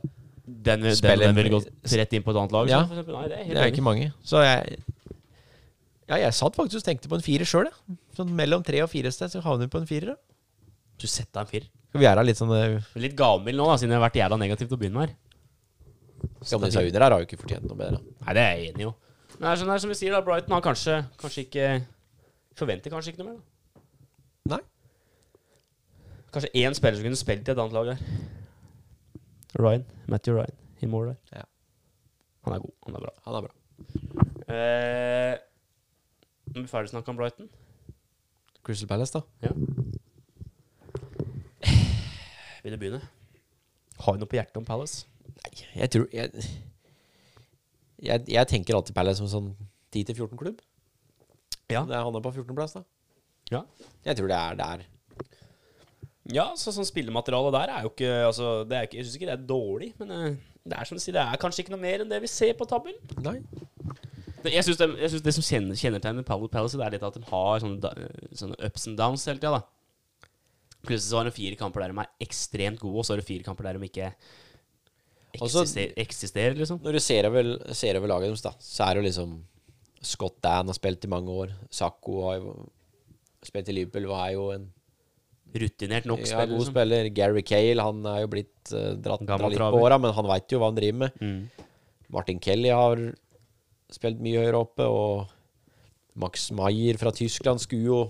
S3: Den, den,
S4: Spiller-
S3: den ville gått rett inn på et annet lag.
S4: Ja.
S3: sånn, for eksempel. Nei, det er
S4: Det er
S3: helt enig.
S4: ikke mange. Så jeg Ja, jeg satt faktisk og tenkte på en firer sjøl, jeg. Sånn mellom tre og fire sted, så havner vi på en firer. da.
S3: Du setter en firer.
S4: Skal vi gjøre litt sånn eh,
S3: Litt gavmild nå, da, siden jeg har vært jævla negativ til å begynne her.
S4: Som de sa under her, har jo ikke fortjent noe bedre.
S3: Nei, det er jeg enig i, jo. Men det er sånn her som vi sier, da. Brighton har kanskje, kanskje ikke Forventer kanskje ikke noe mer, da.
S4: Nei.
S3: Kanskje én spiller som kunne spilt i et annet lag der. Ryan. Matthew Ryan i mål der.
S4: Ja.
S3: Han er god. Han er bra.
S4: Han er bra.
S3: Eh, er vi ferdig snakka om Brighton?
S4: Crystal Palace, da.
S3: Ja. Vil du begynne? Har vi noe på hjertet om Palace?
S4: Nei, jeg tror jeg, jeg, jeg tenker alltid Palace som sånn 10-14-klubb.
S3: Ja.
S4: Det havner på 14.-plass, da.
S3: Ja.
S4: Jeg tror det er der.
S3: Ja, så sånn spillemateriale der er jo ikke altså, det er ikke, Jeg syns ikke det er dårlig, men eh, det er som du sier, det er kanskje ikke noe mer enn det vi ser på tabellen.
S4: Nei.
S3: Det- Jeg syns det, jeg synes det som kjenner- kjennetegner Palace, Palace, det er litt at de har sånne, da- sånne ups and downs hele tida, da. Plutselig så har de fire kamper der de er ekstremt gode, og så har de fire kamper der de ikke
S4: Altså-
S3: eksister, eksisterer, liksom.
S4: Når du ser over, ser over laget deres, da, så er det jo liksom Scott Dan har spilt i mange år. Sakko har jo spilt i Liverpool og er jo en
S3: Rutinert nok
S4: ja,
S3: spiller,
S4: god
S3: liksom.
S4: spiller. Gary Cale han er jo blitt eh, dratt
S3: Gammel
S4: litt på
S3: traver. Mm.
S4: åra, men han veit jo hva han driver med. Martin Kelly har spilt mye høyere oppe, og Max Maier fra Tyskland skulle jo,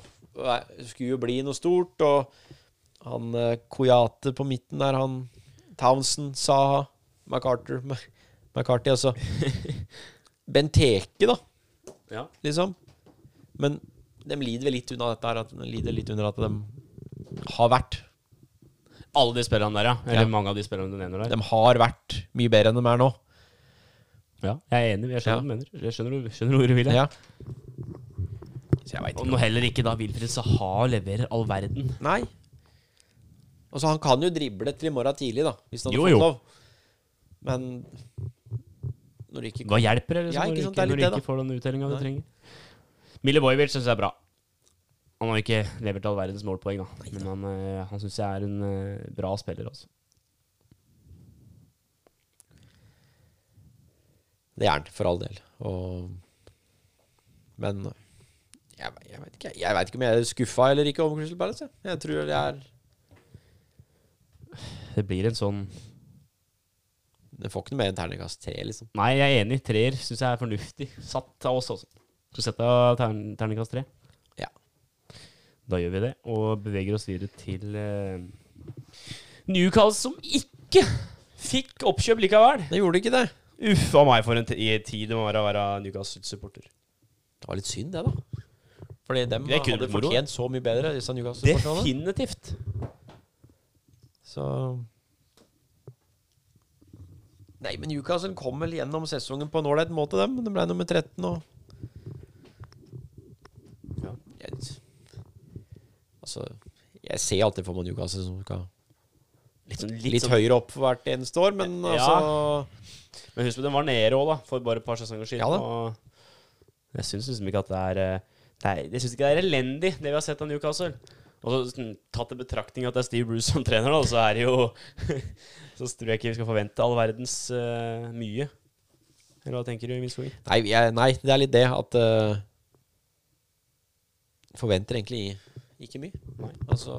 S4: skulle jo bli noe stort. Og han eh, Koyate på midten der, han Townsend, Saha, MacArthur Mac- McCarthy, altså. Benteke, da
S3: Ja.
S4: liksom. Men de lider vel litt unna dette her, at de lider litt under at de har vært.
S3: Alle de spillerne der, ja. Eller
S4: Ja.
S3: mange av de spillerne du nevner der.
S4: De har vært mye bedre enn de er nå.
S3: Ja, jeg er enig. Jeg skjønner
S4: Ja.
S3: hva du mener. Jeg skjønner, skjønner hvor du vil. jeg.
S4: Ja. Så jeg veit
S3: Og
S4: ikke.
S3: når heller ikke da Wilfred Saha leverer all verden.
S4: Nei. Altså, han kan jo drible til i morgen tidlig, da, hvis han
S3: Jo,
S4: hadde
S3: jo.
S4: fått lov. Men når det ikke
S3: Hva hjelper det liksom,
S4: Ja, ikke
S3: når, du
S4: sant,
S3: ikke,
S4: det er
S3: når du
S4: litt det,
S3: ikke får den uttellinga du
S4: Nei.
S3: trenger? Milivojevic syns jeg er bra. Han har ikke levert all verdens målpoeng, da. Men han, eh, han syns jeg er en eh, bra spiller, altså.
S4: Det er han, for all del. Og... Men jeg, ve- jeg veit ikke, jeg vet ikke om jeg er skuffa eller ikke over Crystal Palace. jeg. Jeg tror det er
S3: Det blir en sånn
S4: Den får ikke noe mer enn terningkast tre, liksom.
S3: Nei, jeg er enig. Treer syns jeg er fornuftig. Satt av oss, altså. Skal sette tern terningkast tre.
S4: Ja.
S3: Da gjør vi det, og beveger oss videre til eh, Newcastle, som ikke fikk oppkjøp likevel.
S4: Det gjorde ikke det.
S3: Uff a meg, for en t tid det må være å være Newcastle-supporter.
S4: Det var litt synd, det, da. Fordi dem
S3: Det kunne
S4: hadde
S3: blitt moro.
S4: fortjent så mye bedre, disse Newcastle-supporterne.
S3: Definitivt.
S4: Så Nei, men Newcastle kom vel gjennom sesongen på en ålreit måte, dem. De ble nummer 13 og
S3: Ja.
S4: jeg, Altså, jeg ser alltid for meg Newcastle som skal
S3: Litt, sånn,
S4: litt, høyere opp for hvert eneste år, men
S3: Ja.
S4: altså
S3: Men husk på, den var nede òg, da, for bare et par sesonger siden.
S4: Ja da.
S3: og jeg syns liksom ikke at det er eh, det er- Jeg syns ikke det er elendig, det vi har sett av Newcastle. Og så sånn, tatt i betraktning at det er Steve Bruce som trener, da, så er det jo Så tror jeg ikke vi skal forvente all verdens eh, mye. Eller hva tenker du, Miss Wing?
S4: Nei, jeg, nei, det er litt det at eh, Forventer egentlig ikke mye.
S3: Nei.
S4: Altså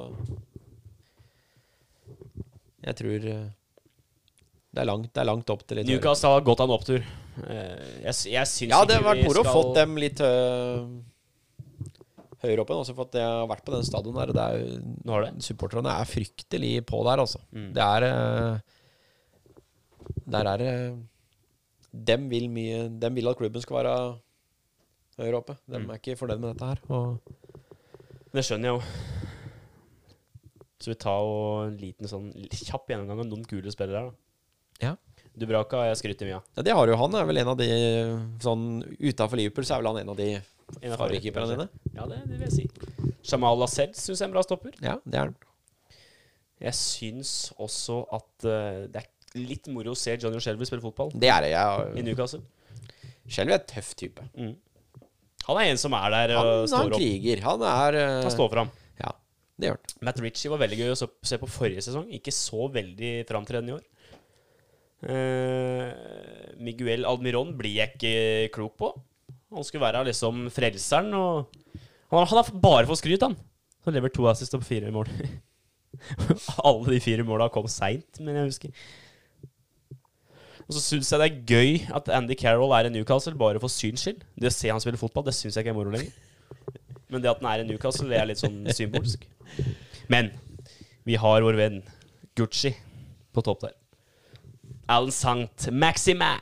S4: Jeg tror eh, det er langt, det er langt opp til litt høyere.
S3: Newcastle har gått av en opptur. Eh, Jeg, sy- jeg syns
S4: Ja, det
S3: ikke
S4: har vært
S3: vi
S4: moro å
S3: skal-
S4: fått dem litt eh, høyere opp igjen. Også for at jeg har vært på den stadion der. og Det er, jo-
S3: Nå har det.
S4: Supporterne er fryktelig på der, altså.
S3: Mm.
S4: Det er eh, Der er det Dem vil mye Dem vil at klubben skal være høyere oppe. Dem
S3: Mm.
S4: er ikke fornøyd med dette her. Og
S3: Det skjønner jeg jo. Så vi tar jo en liten sånn kjapp gjennomgang av noen kule spillere her,
S4: ja.
S3: da. Dubraka har jeg skrytt mye av.
S4: Ja, det har du jo. Han er vel en av de sånn Utafor Liverpool så er vel han en av de
S3: En av
S4: favorittkeeperne dine.
S3: Ja, det, det vil jeg si. Jamal Lassell syns jeg er en bra stopper.
S4: Ja, det er han.
S3: Jeg syns også at eh, det er litt moro å se Johnny Shelby spille fotball
S4: Det er det.
S3: i
S4: Jeg
S3: Newcastle.
S4: Shelby er en tøff type.
S3: Han er en som er der og
S4: Han, han
S3: står opp.
S4: kriger. Han er eh,
S3: Han står fram.
S4: Ja, det gjør han.
S3: Matt Ritchie var veldig gøy å så- se på forrige sesong. Ikke så veldig framtredende i år. Eh, Miguel Almiron blir jeg ikke klok på. Han skulle være liksom frelseren. Og han, har- han har bare fått skryt, han. Han lever to assist og fire mål. Alle de fire måla kom seint, men jeg husker. Og så syns jeg det er gøy at Andy Carroll er i Newcastle bare for syns skyld. Det å se han spille fotball, det syns jeg ikke er moro lenger. Men det at han er i Newcastle, det er litt sånn symbolsk. Men vi har vår venn Gucci på topp der. Alan Sankt Maxima.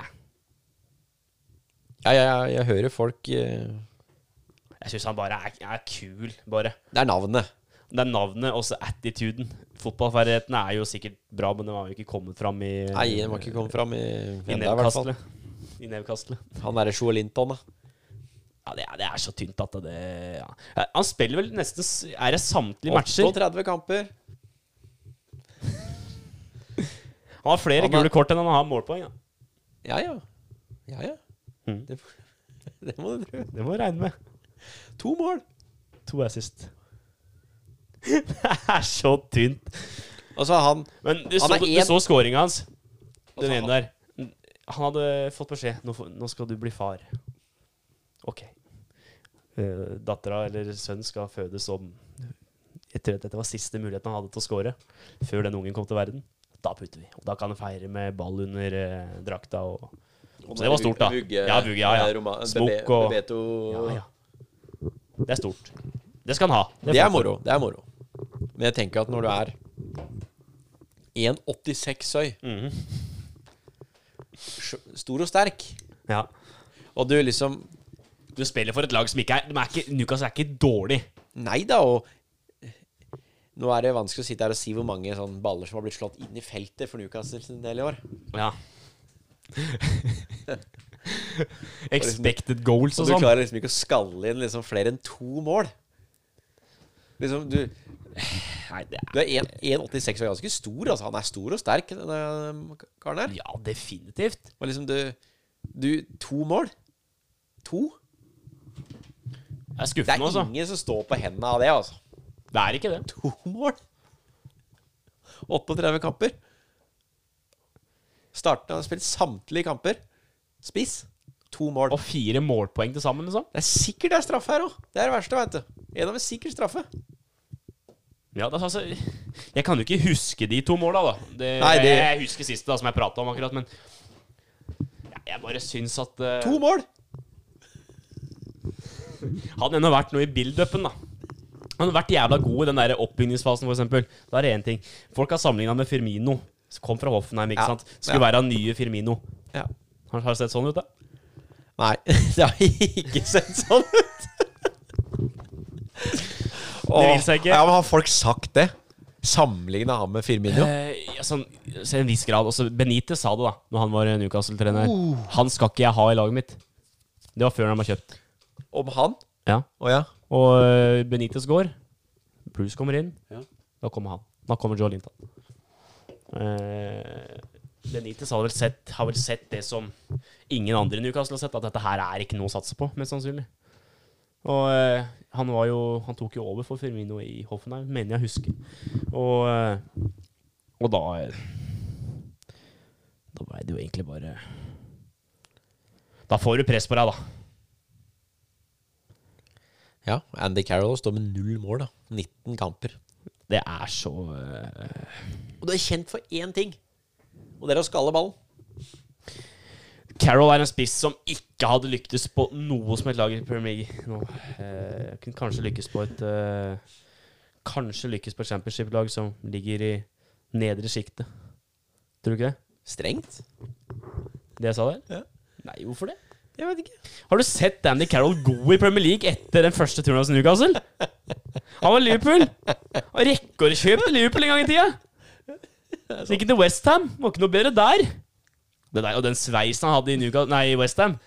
S4: Ja, jeg, jeg, jeg hører folk eh,
S3: Jeg syns han bare er, er kul, bare.
S4: Det er navnet.
S3: Det er navnet og så attituden. Fotballferdighetene er jo sikkert bra, men de har jo ikke kommet fram i
S4: Nei, den må ikke komme fram i
S3: i
S4: enda, i hvert fall.
S3: nevkastet. I nevkastet.
S4: Han derre Joe Linton, da.
S3: Ja, det er, det er så tynt at det ja. Han spiller vel nesten s- Er det samtlige matcher?
S4: 38 kamper.
S3: Han har flere
S4: Han er-
S3: gule kort enn han har målpoeng. Ja.
S4: Ja, ja. Ja, ja.
S3: Mm.
S4: Det, det må du tro.
S3: Det må du regne med.
S4: To mål.
S3: To assist. det er så tynt.
S4: Og så har han
S3: Men du
S4: Han
S3: så,
S4: er
S3: du
S4: en-
S3: så scoringa hans. Den
S4: Altså,
S3: ene der. Han hadde fått beskjed nå, får- nå skal du bli far. Ok. Uh, Dattera eller sønnen skal fødes om Jeg tror at dette var siste muligheten han hadde til å score før den ungen kom til verden. Da putter vi. Og da kan han feire med ball under eh, drakta og Så det var stort, da.
S4: Vugge-
S3: ja, Vugge, ja, ja.
S4: Roma- Bebe-
S3: Smokk og
S4: Bebeto.
S3: ja, ja. Det er stort. Det skal han ha.
S4: Det er moro. Det er moro. Men jeg tenker at når du er 1,86 høy,
S3: Mhm.
S4: sj- stor og sterk,
S3: Ja.
S4: og du liksom
S3: Du spiller for et lag som ikke er, de er ikke, Nukas er ikke dårlig.
S4: Nei da, og nå er det vanskelig å sitte her og si hvor mange sånne baller som har blitt slått inn i feltet for Newcastle sin del i år.
S3: Ja. Expected goals
S4: Så
S3: og
S4: du
S3: sånn.
S4: klarer liksom ikke å skalle inn liksom flere enn to mål. Liksom, du
S3: Nei, det er
S4: Du er 1 1,86 og ganske stor. Altså. Han er stor og sterk, denne karen her.
S3: Ja, definitivt.
S4: Og liksom, du, du To mål. To.
S3: Det er
S4: Det er
S3: skuffende, altså.
S4: ingen som står på hendene av det, altså.
S3: Det er ikke det.
S4: To mål! 38 kamper. Starten har spilt samtlige kamper. Spiss. To mål.
S3: Og fire målpoeng til sammen, liksom.
S4: Det er sikkert det er straffe her òg. Det er det verste, veit du. En av dem er sikkert straffe.
S3: Ja, det, er altså, jeg kan jo ikke huske de to måla, da. Det,
S4: Nei, det-
S3: Jeg husker siste, da, som jeg prata om akkurat, men ja, jeg bare syns at eh,
S4: To mål!
S3: Hadde ennå vært noe i build-upen, da. Han har vært jævla god i den der oppbygningsfasen, for eksempel. Da er det én ting. Folk har sammenligna med Firmino. som Kom fra Hoffenheim, ikke
S4: Ja.
S3: sant. Skulle være den nye Firmino.
S4: Ja.
S3: Har har det sett sånn ut, da?
S4: Nei, det har ikke sett sånn ut.
S3: Det vil seg ikke.
S4: Ja, men Har folk sagt det? Sammenligna han med Firmino?
S3: Eh, ja, sånn, til en viss grad. Også Benitez sa det da Når han var Newcastle-trener. Han skal ikke jeg ha i laget mitt. Det var før han var kjøpt.
S4: Om han?
S3: Ja
S4: Å ja.
S3: Og eh, Benitez går. Bruce kommer inn.
S1: Ja.
S3: Da kommer han. Da kommer Joe Linton. Eh, Benitez har vel, sett, har vel sett det som ingen andre i Newcastle har sett, at dette her er ikke noe å satse på, mest sannsynlig. Og eh, han var jo Han tok jo over for Firmino i Hoffenheim, mener jeg husker. Og, eh, og da eh, Da blei det jo egentlig bare Da får du press på deg, da.
S4: Ja, Andy Carroll står med null mål, da. 19 kamper.
S3: Det er så eh,
S4: Og du er kjent for én ting, og det er å skalle ballen.
S3: Carroll er en spiss som ikke hadde lyktes på noe som et lag i Premier League nå. Eh, kunne kanskje lykkes på et eh, Kanskje lykkes på et championship-lag som ligger i nedre sjiktet. Tror du ikke det?
S4: Strengt?
S3: Det jeg sa der?
S4: Ja.
S3: Nei, hvorfor det?
S4: Jeg vet ikke.
S3: Har du sett Andy Carroll god i Premier League etter den første turen hans i Newcastle? Han var Liverpool. Han rekordkjøp til Liverpool en gang i tida. Så gikk han til Westham. Var ikke noe bedre der. Det der og den sveisen han hadde i Newcastle, nei, i Westham,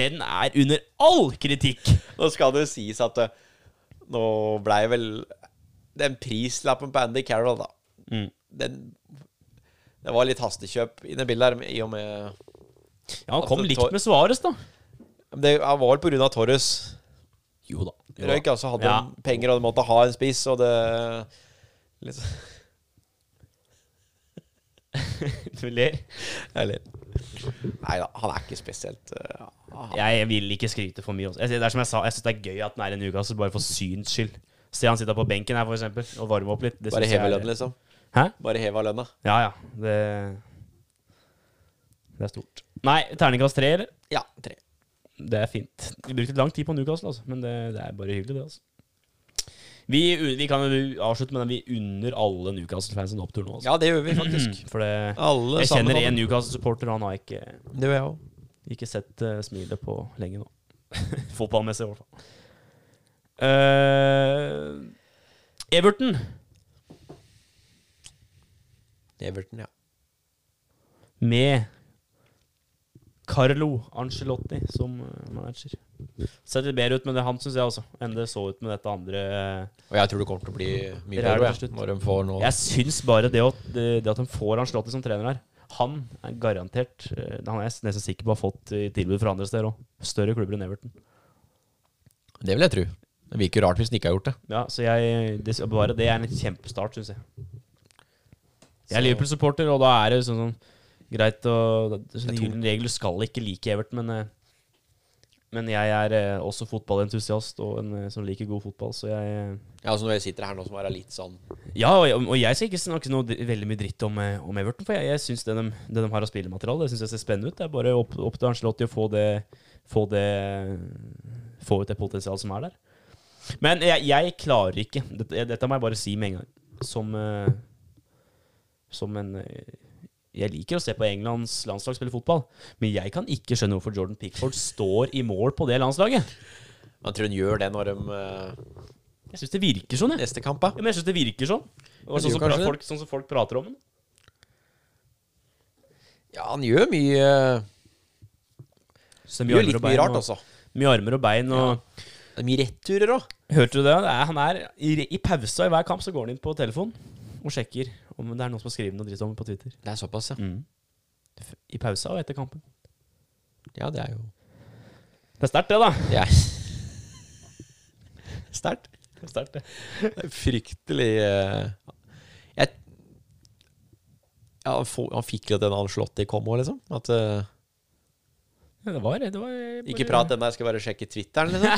S3: den er under all kritikk.
S4: Nå skal det jo sies at eh, nå blei vel den prislappen på Andy Carroll, da den, Det var litt hastekjøp inni bildet her, i og med
S3: Ja, Han kom
S4: Altså,
S3: likt
S4: Tor-
S3: med Suárez, da.
S4: Men Det var vel på grunn av Torres.
S3: Jo da.
S4: Røyk altså hadde
S3: Ja.
S4: de penger og de måtte ha en spiss, og det litt,
S3: Du ler.
S4: Eller Nei da, han er ikke spesielt eh, han-
S3: Jeg vil ikke skryte for mye. Også. Jeg, det er som jeg sa, jeg syns det er gøy at den er i Newcastle, bare for syns skyld. Se han sitter på benken her, for eksempel, og varmer opp litt. Det
S4: Bare
S3: synes jeg
S4: heve
S3: er-
S4: lønnen, liksom.
S3: Hæ?
S4: Bare heva lønna.
S3: Ja, ja. Det, det er stort. Nei, terningkast tre, eller?
S4: Ja, tre.
S3: Det er fint. Vi brukte lang tid på Newcastle, altså, men det, det er bare hyggelig, det. altså. Vi, vi kan jo avslutte med den. Vi unner alle Newcastle-fans en opptur nå. Altså. Mm.
S4: Ja, det gjør vi faktisk.
S3: For det,
S4: Alle
S3: jeg
S4: sammen.
S3: kjenner en Newcastle-supporter, og han har ikke,
S4: Det gjør jeg òg.
S3: ikke sett eh, smilet på lenge nå. Fotballmessig, i hvert fall. Eh, Everton.
S4: Everton, ja.
S3: med Carlo Angelotti som eh, manager. Ser litt bedre ut med det han, syns jeg også, enn det så ut med dette andre.
S4: Og jeg tror det kommer til å bli mye
S3: Det er det til
S4: bedre jeg,
S3: slutt.
S4: når de får nå
S3: Jeg syns bare det at, det at de får Angelotti som trener her Han er garantert eh, Han er jeg nesten sikker på har fått eh, tilbud fra andre steder òg. Større klubber enn Everton.
S4: Det vil jeg tro. Det virker rart hvis den ikke har gjort det.
S3: Ja, så jeg det, Bare det er en kjempestart, syns jeg. Jeg er
S4: Så-
S3: Liverpool-supporter, og da er det sånn, sånn greit å det er
S4: Det
S3: Sånn
S4: er
S3: gyllen regel du skal ikke like Everton, men eh, men jeg er eh, også fotballentusiast og en eh, som liker god fotball, så jeg eh,
S4: Ja, altså Når jeg sitter her nå, som er litt sånn
S3: Ja, og jeg, og jeg skal ikke snakke noe dri- veldig mye dritt om, eh, om Everton, for jeg, jeg syns det, de- det de har av spillemateriale, det syns jeg ser spennende ut. Det er bare opp, opp til Arncelotti å få det Få det Få ut det potensialet som er der. Men jeg, jeg klarer ikke dette, jeg, dette må jeg bare si med en gang. Som eh, Som en eh, Jeg liker å se på Englands landslag spille fotball, men jeg kan ikke skjønne hvorfor Jordan Pickford står i mål på det landslaget.
S4: Man tror hun gjør det når de eh,
S3: Jeg syns det virker sånn, jeg.
S4: Neste kamp, da.
S3: Ja, men jeg syns det virker sånn. Og
S4: Det
S3: sånn, som
S4: gjør kanskje
S3: pra-
S4: det.
S3: folk, sånn som folk prater om den.
S4: Ja, han gjør mye eh,
S3: Så
S4: Gjør litt mye rart, altså.
S3: Mye armer og bein. Og,
S4: Det er mye returer òg.
S3: Hørte du det? det er, han er i, re- I pausa i hver kamp så går han inn på telefonen og sjekker om det er noen som har skrevet noe dritt om ham på Twitter.
S4: Det er såpass, ja.
S3: Mm. F- I pausa og etter kampen.
S4: Ja, det er jo
S3: Det er sterkt, det, da.
S4: Det er sterkt.
S3: Det er sterkt, det.
S4: Det er Fryktelig eh, Jeg ja, han, få, han fikk jo den Ancelotti kom òg, liksom. At eh,
S3: Ja, det var, det var bare-
S4: Ikke prat ennå, jeg skal bare sjekke Twitteren, liksom.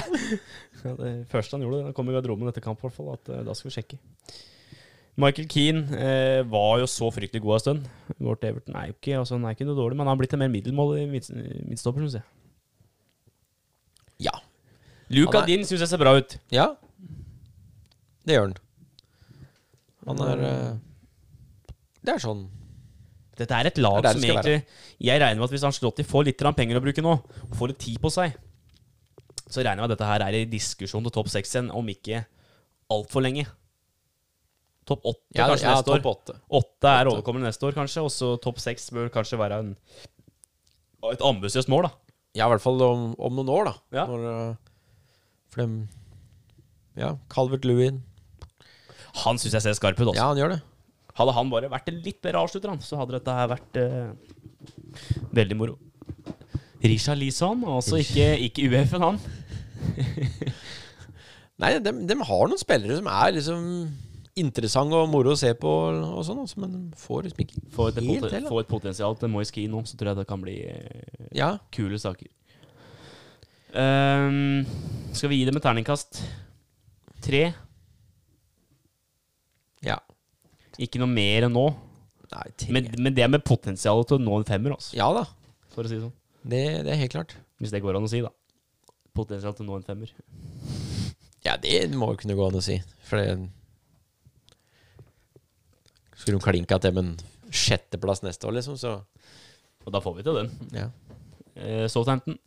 S3: Ja, det første han gjorde, han kom i garderoben etter kamp, i hvert fall, at eh, da skal vi sjekke. Michael Keane eh, var jo så fryktelig god en stund. Går til Everton er jo ikke, altså, han er ikke noe dårlig, men han har blitt en mer middelmådig midt- midtstopper, syns jeg.
S4: ja.
S3: Luca
S4: Han er-
S3: Din syns jeg ser bra ut.
S4: ja. Det gjør han. Han er eh, Det er sånn
S3: Dette er et
S4: Det
S3: lag
S4: er der
S3: som
S4: det skal
S3: egentlig Jeg regner med at hvis Ancelotti får litt grann penger å bruke nå, og får litt tid på seg, så regner jeg med at dette her er i diskusjon til topp seks igjen, om ikke altfor lenge. Topp åtte
S4: Ja,
S3: kanskje
S4: ja,
S3: neste år.
S4: topp åtte.
S3: Åtte er overkommende neste år, kanskje. Og så topp seks bør kanskje være en, et ambisiøst mål, da.
S4: Ja, i hvert fall om, om noen år, da.
S3: Ja.
S4: Når, eh, for dem Ja, Calvert Lewin.
S3: Han syns jeg ser skarp ut, altså.
S4: Ja, han gjør det.
S3: Hadde han bare vært en litt bedre avslutter, han, så hadde dette her vært eh, veldig moro. Risha Lisan, altså ikke, ikke UF-en, han.
S4: Nei, de, har noen spillere som er liksom interessante og moro å se på, og sånn, altså, men de får liksom ikke
S3: Få et,
S4: helt
S3: poten-
S4: til. da.
S3: få et potensial til Moise Keane nå, så tror jeg det kan bli eh,
S4: Ja,
S3: kule saker. Ehm, skal vi gi dem et terningkast? Tre.
S4: ja.
S3: Ikke noe mer enn nå.
S4: Nei, tre.
S3: Men, men det er med potensial til å nå en femmer, altså,
S4: ja da,
S3: for å si det sånn.
S4: det, det er helt klart.
S3: Hvis det går an å si, da. Potensial til å nå en femmer.
S4: Ja, det må jo kunne gå an å si. For det Skulle de klinka til med en sjetteplass neste år, liksom, så
S3: Og da får vi til den.
S4: ja.
S3: Uh, Southampton.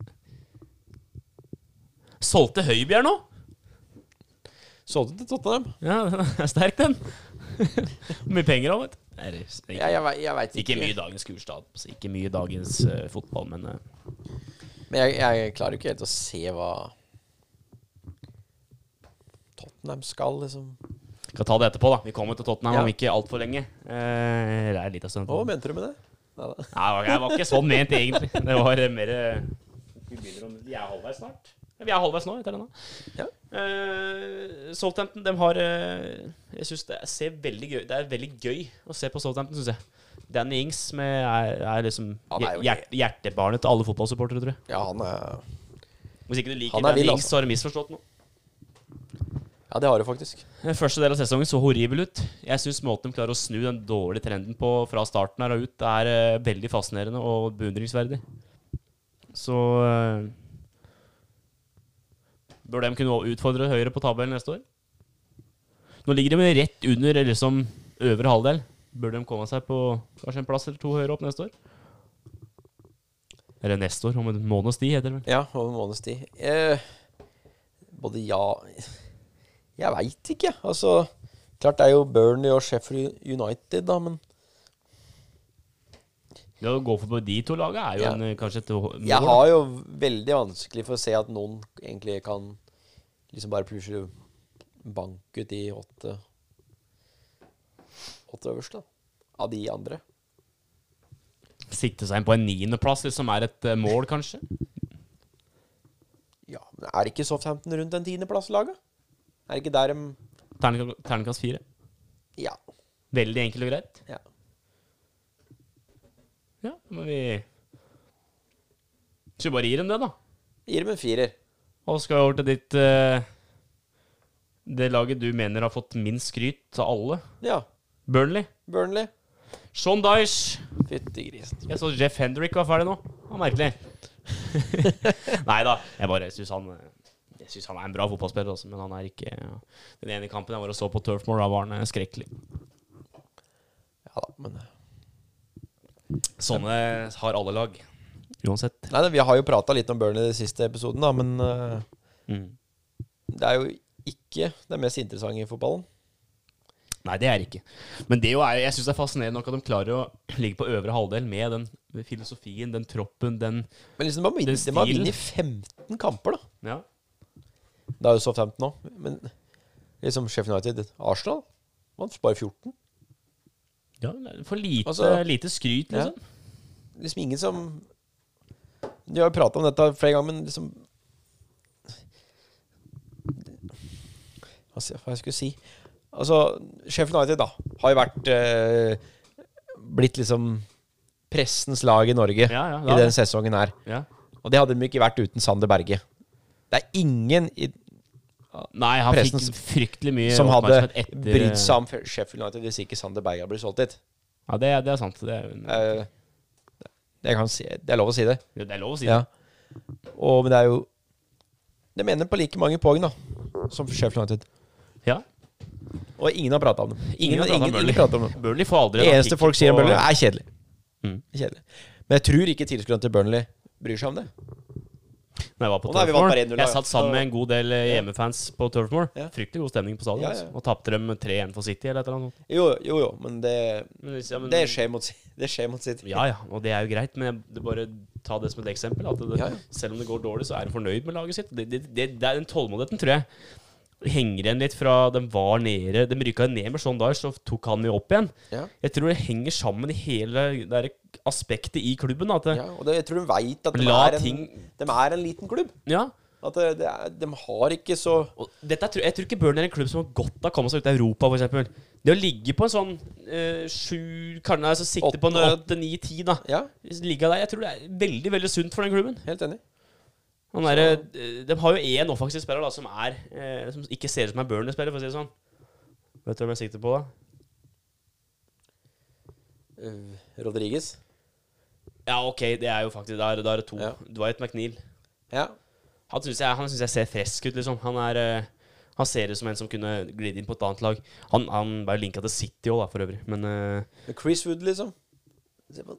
S3: Solgte Høibjerg nå?
S4: Solgte til Tottenham.
S3: Ja, den er sterk, den. Hvor mye penger han, vet du. Nei, det er ikke-
S4: Ja, jeg, vei- jeg veit
S3: Ikke
S4: ikke.
S3: mye i dagens kursdag, altså, ikke mye i dagens eh, fotball, men eh,
S4: Men jeg, jeg klarer jo ikke helt å se hva Tottenham skal, liksom.
S3: vi kan ta det etterpå, da. Vi kommer til Tottenham
S4: Ja.
S3: om ikke altfor lenge. Eh, det er litt av stund.
S4: Hva
S3: Nei,
S4: mente du med det? Neida.
S3: det var ikke sånn ment, egentlig. Det var eh, mer eh, Vi begynner om- Vi er halvveis snart. Ja, Vi er halvveis nå, etter denne.
S4: Ja.
S3: Eh, Southampton, de har eh, Jeg syns det ser veldig gøy Det er veldig gøy å se på Southampton, syns jeg. Danny Ings med, er, er liksom
S4: Ja, det er jo
S3: hjert, hjertebarnet til alle fotballsupportere, tror jeg.
S4: Ja, han er
S3: Hvis ikke du liker
S4: Han er
S3: Danny
S4: vill, altså.
S3: Ings, så har du misforstått noe.
S4: Ja, det har du faktisk.
S3: Den Første del av sesongen så horribel ut. Jeg syns måten de klarer å snu den dårlige trenden på fra starten her og ut, det er eh, veldig fascinerende og beundringsverdig. Så eh, Bør de kunne utfordre Høyre på tabellen neste år? Nå ligger de rett under liksom øvre halvdel. Bør de komme seg på kanskje en plass eller to høyere opp neste år? Eller neste år, om en måneds tid, heter det vel.
S4: Ja, over en måneds tid. Eh, både ja Jeg veit ikke. Altså, klart det er jo Burnley og Sheffield United, da, men
S3: Det å gå for på de to lagene er jo
S4: Ja.
S3: en, eh, kanskje et hå- mål.
S4: Jeg har jo veldig vanskelig for å se at noen egentlig kan liksom bare plutselig banke ut de åtte åtte øverste, da. Av de andre.
S3: Sikte seg inn på en niendeplass, liksom, er et eh, mål, kanskje?
S4: Ja, men er det ikke Southampton rundt en tiendeplass-laget? Er det ikke der de
S3: Terningka- Terningkast fire.
S4: Ja.
S3: Veldig enkelt og greit.
S4: ja.
S3: Ja, men vi Så vi bare gir dem det, da.
S4: Gir dem en firer.
S3: Og skal over til ditt eh, Det laget du mener har fått minst skryt av alle.
S4: Ja.
S3: Burnley.
S4: Burnley.
S3: Sean Dyche.
S4: Fytti grisen.
S3: Jeg så Jeff Hendrick var ferdig nå. Det var merkelig. Nei da. Jeg bare syns han eh, Jeg synes han er en bra fotballspiller, også, men han er ikke Den ene kampen jeg var og så på Turfmore, da var han eh, skrekkelig.
S4: Ja da, men eh,
S3: Sånne har alle lag. Uansett.
S4: Nei, nei, vi har jo prata litt om Burnley i den siste episoden, da, men eh,
S3: Mm.
S4: det er jo ikke det mest interessante i fotballen.
S3: Nei, det er det ikke. Men det jo er, jeg syns det er fascinerende nok at de klarer å ligge på øvre halvdel med den filosofien, den troppen, den
S4: Men liksom, de har vunnet-
S3: Den
S4: de har
S3: stilen.
S4: vunnet 15 kamper, da.
S3: Ja.
S4: Det er jo Southampton òg, men liksom Sheffield United Arsenal vant bare 14.
S3: ja for lite,
S4: Altså-
S3: lite skryt,
S4: Ja.
S3: liksom.
S4: Liksom ingen som Du har jo prata om dette flere ganger, men liksom Hva skal jeg- hva jeg skulle si? Altså, Sheffield United da har jo vært eh, blitt liksom pressens lag i Norge
S3: Ja, ja, det
S4: i
S3: har
S4: den
S3: det.
S4: sesongen her.
S3: Ja.
S4: Og det hadde de ikke vært uten Sander Berge. Det er ingen i
S3: Nei, han
S4: Pressen
S3: fikk fryktelig mye
S4: som hadde
S3: oppmerksomhet etter- eh,
S4: brydd seg om Sheffield United hvis ikke Sander Berge hadde blitt solgt dit.
S3: Ja, det, det er sant. Det er, jo-
S4: Eh, det, kan si, det er lov å si det.
S3: det er lov å si det.
S4: Ja. Og, men det er jo De mener på like mange poeng da som Sheffield United.
S3: Ja.
S4: Og ingen har prata om dem.
S3: Ingen har pratet om
S4: ingen,
S3: Burnley.
S4: ingen prater om dem.
S3: Burnley får aldri
S4: Det
S3: en
S4: eneste
S3: artikkel
S4: folk sier om
S3: på-
S4: Burnley, er kjedelig.
S3: Mm.
S4: kjedelig. Men jeg tror ikke tilskuerne til Burnley bryr seg om det.
S3: Når jeg var på
S4: Og da er vi vant
S3: Turfmore.
S4: bare 1-0,
S3: Jeg
S4: ja.
S3: satt sammen med en god del eh, hjemmefans på Turfmore.
S4: Ja.
S3: Fryktelig god stemning på stadion.
S4: Ja, ja.
S3: altså. Og tapte dem 3-1 for City eller et eller annet. sånt.
S4: Jo, jo, jo, men det,
S3: Men, ja, men-
S4: det, skjer, mot, det skjer mot sitt.
S3: Ja, ja, og det er jo greit, men jeg, det bare ta det som et eksempel. At det,
S4: Ja, ja.
S3: Selv om det går dårlig, så er han fornøyd med laget sitt. Det, det, det, det er Den tålmodigheten tror jeg henger igjen litt fra de var nede. De rykka ned med Sean Dyche, så tok han mye opp igjen.
S4: Ja.
S3: Jeg tror det henger sammen i hele det der aspektet i klubben. da, At det,
S4: Ja, og det, jeg tror de veit at de
S3: La
S4: er, en,
S3: ting-
S4: de er en liten klubb.
S3: ja.
S4: At det, det er, de har ikke så
S3: Og dette, tror- jeg tror ikke Burnley er en klubb som har godt av å komme seg ut av Europa, for eksempel Det å ligge på en sånn eh, sju Kanskje altså, sikte på en
S4: Åtte.
S3: åtte, ni, ti, da.
S4: Ja,
S3: Ligga der. Jeg tror det er veldig, veldig sunt for den klubben.
S4: helt enig.
S3: Han er, eh, de har jo én offensiv spiller da, som, er, eh, som ikke ser ut som en Burnley-spiller, for å si det sånn. Vet du hvem jeg sikter på, da?
S4: Uh, Rodriguez.
S3: Ja, OK, det er jo faktisk Da er da er det to.
S4: Ja.
S3: Dwight McNeil.
S4: Ja.
S3: Han syns jeg, han synes jeg ser frisk ut, liksom. Han, er, eh, han ser ut som en som kunne glide inn på et annet lag. Han, han var jo linka til City òg, da, for øvrig. Men eh,
S4: Chris Wood, liksom. Se på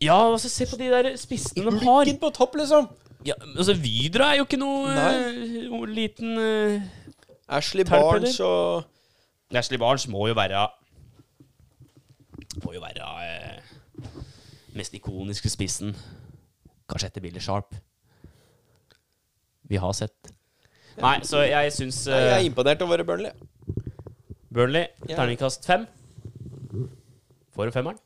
S3: Ja, altså, se på de der spissene de har.
S4: Ulrikken på topp, liksom!
S3: Ja, altså, Vydra er jo ikke noe eh, liten eh,
S4: Ashley
S3: Terp,
S4: Barnes og
S3: Ashley Barnes må jo være Må jo være eh, mest ikoniske spissen. Kanskje etter Billy Sharp. Vi har sett. Nei, så jeg syns
S4: Nei, Jeg
S3: eh,
S4: er imponert over Burnley.
S3: Burnley,
S4: Ja.
S3: terningkast fem. Får du femmeren?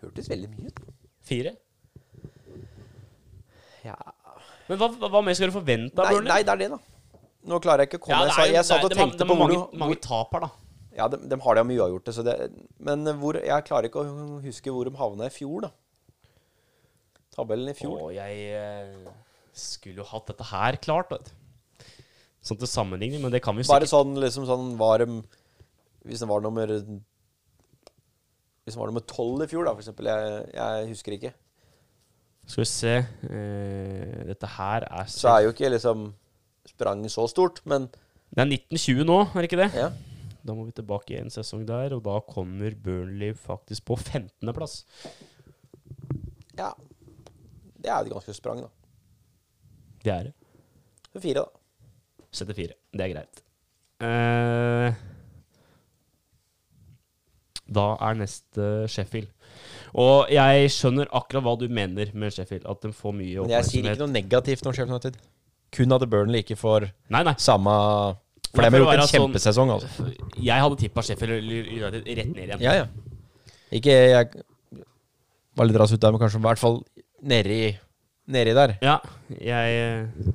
S4: Hørtes veldig mye ut.
S3: Fire?
S4: Ja.
S3: Men hva, hva, hva mer skal du forvente av
S4: Nei,
S3: Burnley?
S4: nei, det er det, da. Nå klarer jeg ikke å komme Jeg sa-
S3: jo-
S4: Jeg
S3: det
S4: satt
S3: er-
S4: og
S3: det er-
S4: tenkte
S3: det er
S4: på
S3: mange,
S4: Olo.
S3: mange tap her, da.
S4: Ja, de, de har det mye uavgjorte, så det Men hvor Jeg klarer ikke å huske hvor de havna i fjor, da. Tabellen i fjor.
S3: Og jeg eh, skulle jo hatt dette her klart. Vet. du. Sånn til sammenligning, men det kan vi jo
S4: Bare
S3: sikkert
S4: sånn liksom sånn var de Hvis de var nummer Hvis de var nummer tolv i fjor, da, for eksempel. Jeg, jeg husker ikke.
S3: Skal vi se eh, Dette her er
S4: Så er jo ikke liksom spranget så stort, men
S3: Det er 1920 nå, er det ikke det?
S4: ja.
S3: Da må vi tilbake en sesong der, og da kommer Burnley faktisk på 15.-plass.
S4: ja. Det er jo et ganske sprang, da.
S3: Det er det.
S4: Så fire, da.
S3: 74. Det er greit. Eh, Da er neste Sheffield. Og jeg skjønner akkurat hva du mener med Sheffield. At de får mye
S4: Men jeg sier
S3: oppmerksomhet.
S4: ikke noe negativt om Sheffield United. Kun at Burnley ikke får
S3: Nei, nei.
S4: samme For
S3: Nei, for å
S4: de har gjort en
S3: være sånn-
S4: kjempesesong, altså.
S3: Jeg hadde tippa Sheffield United rett ned igjen.
S4: Ja, ja. Ikke jeg var litt rask ut der, men kanskje i hvert fall nedi, nedi der.
S3: Ja, jeg eh,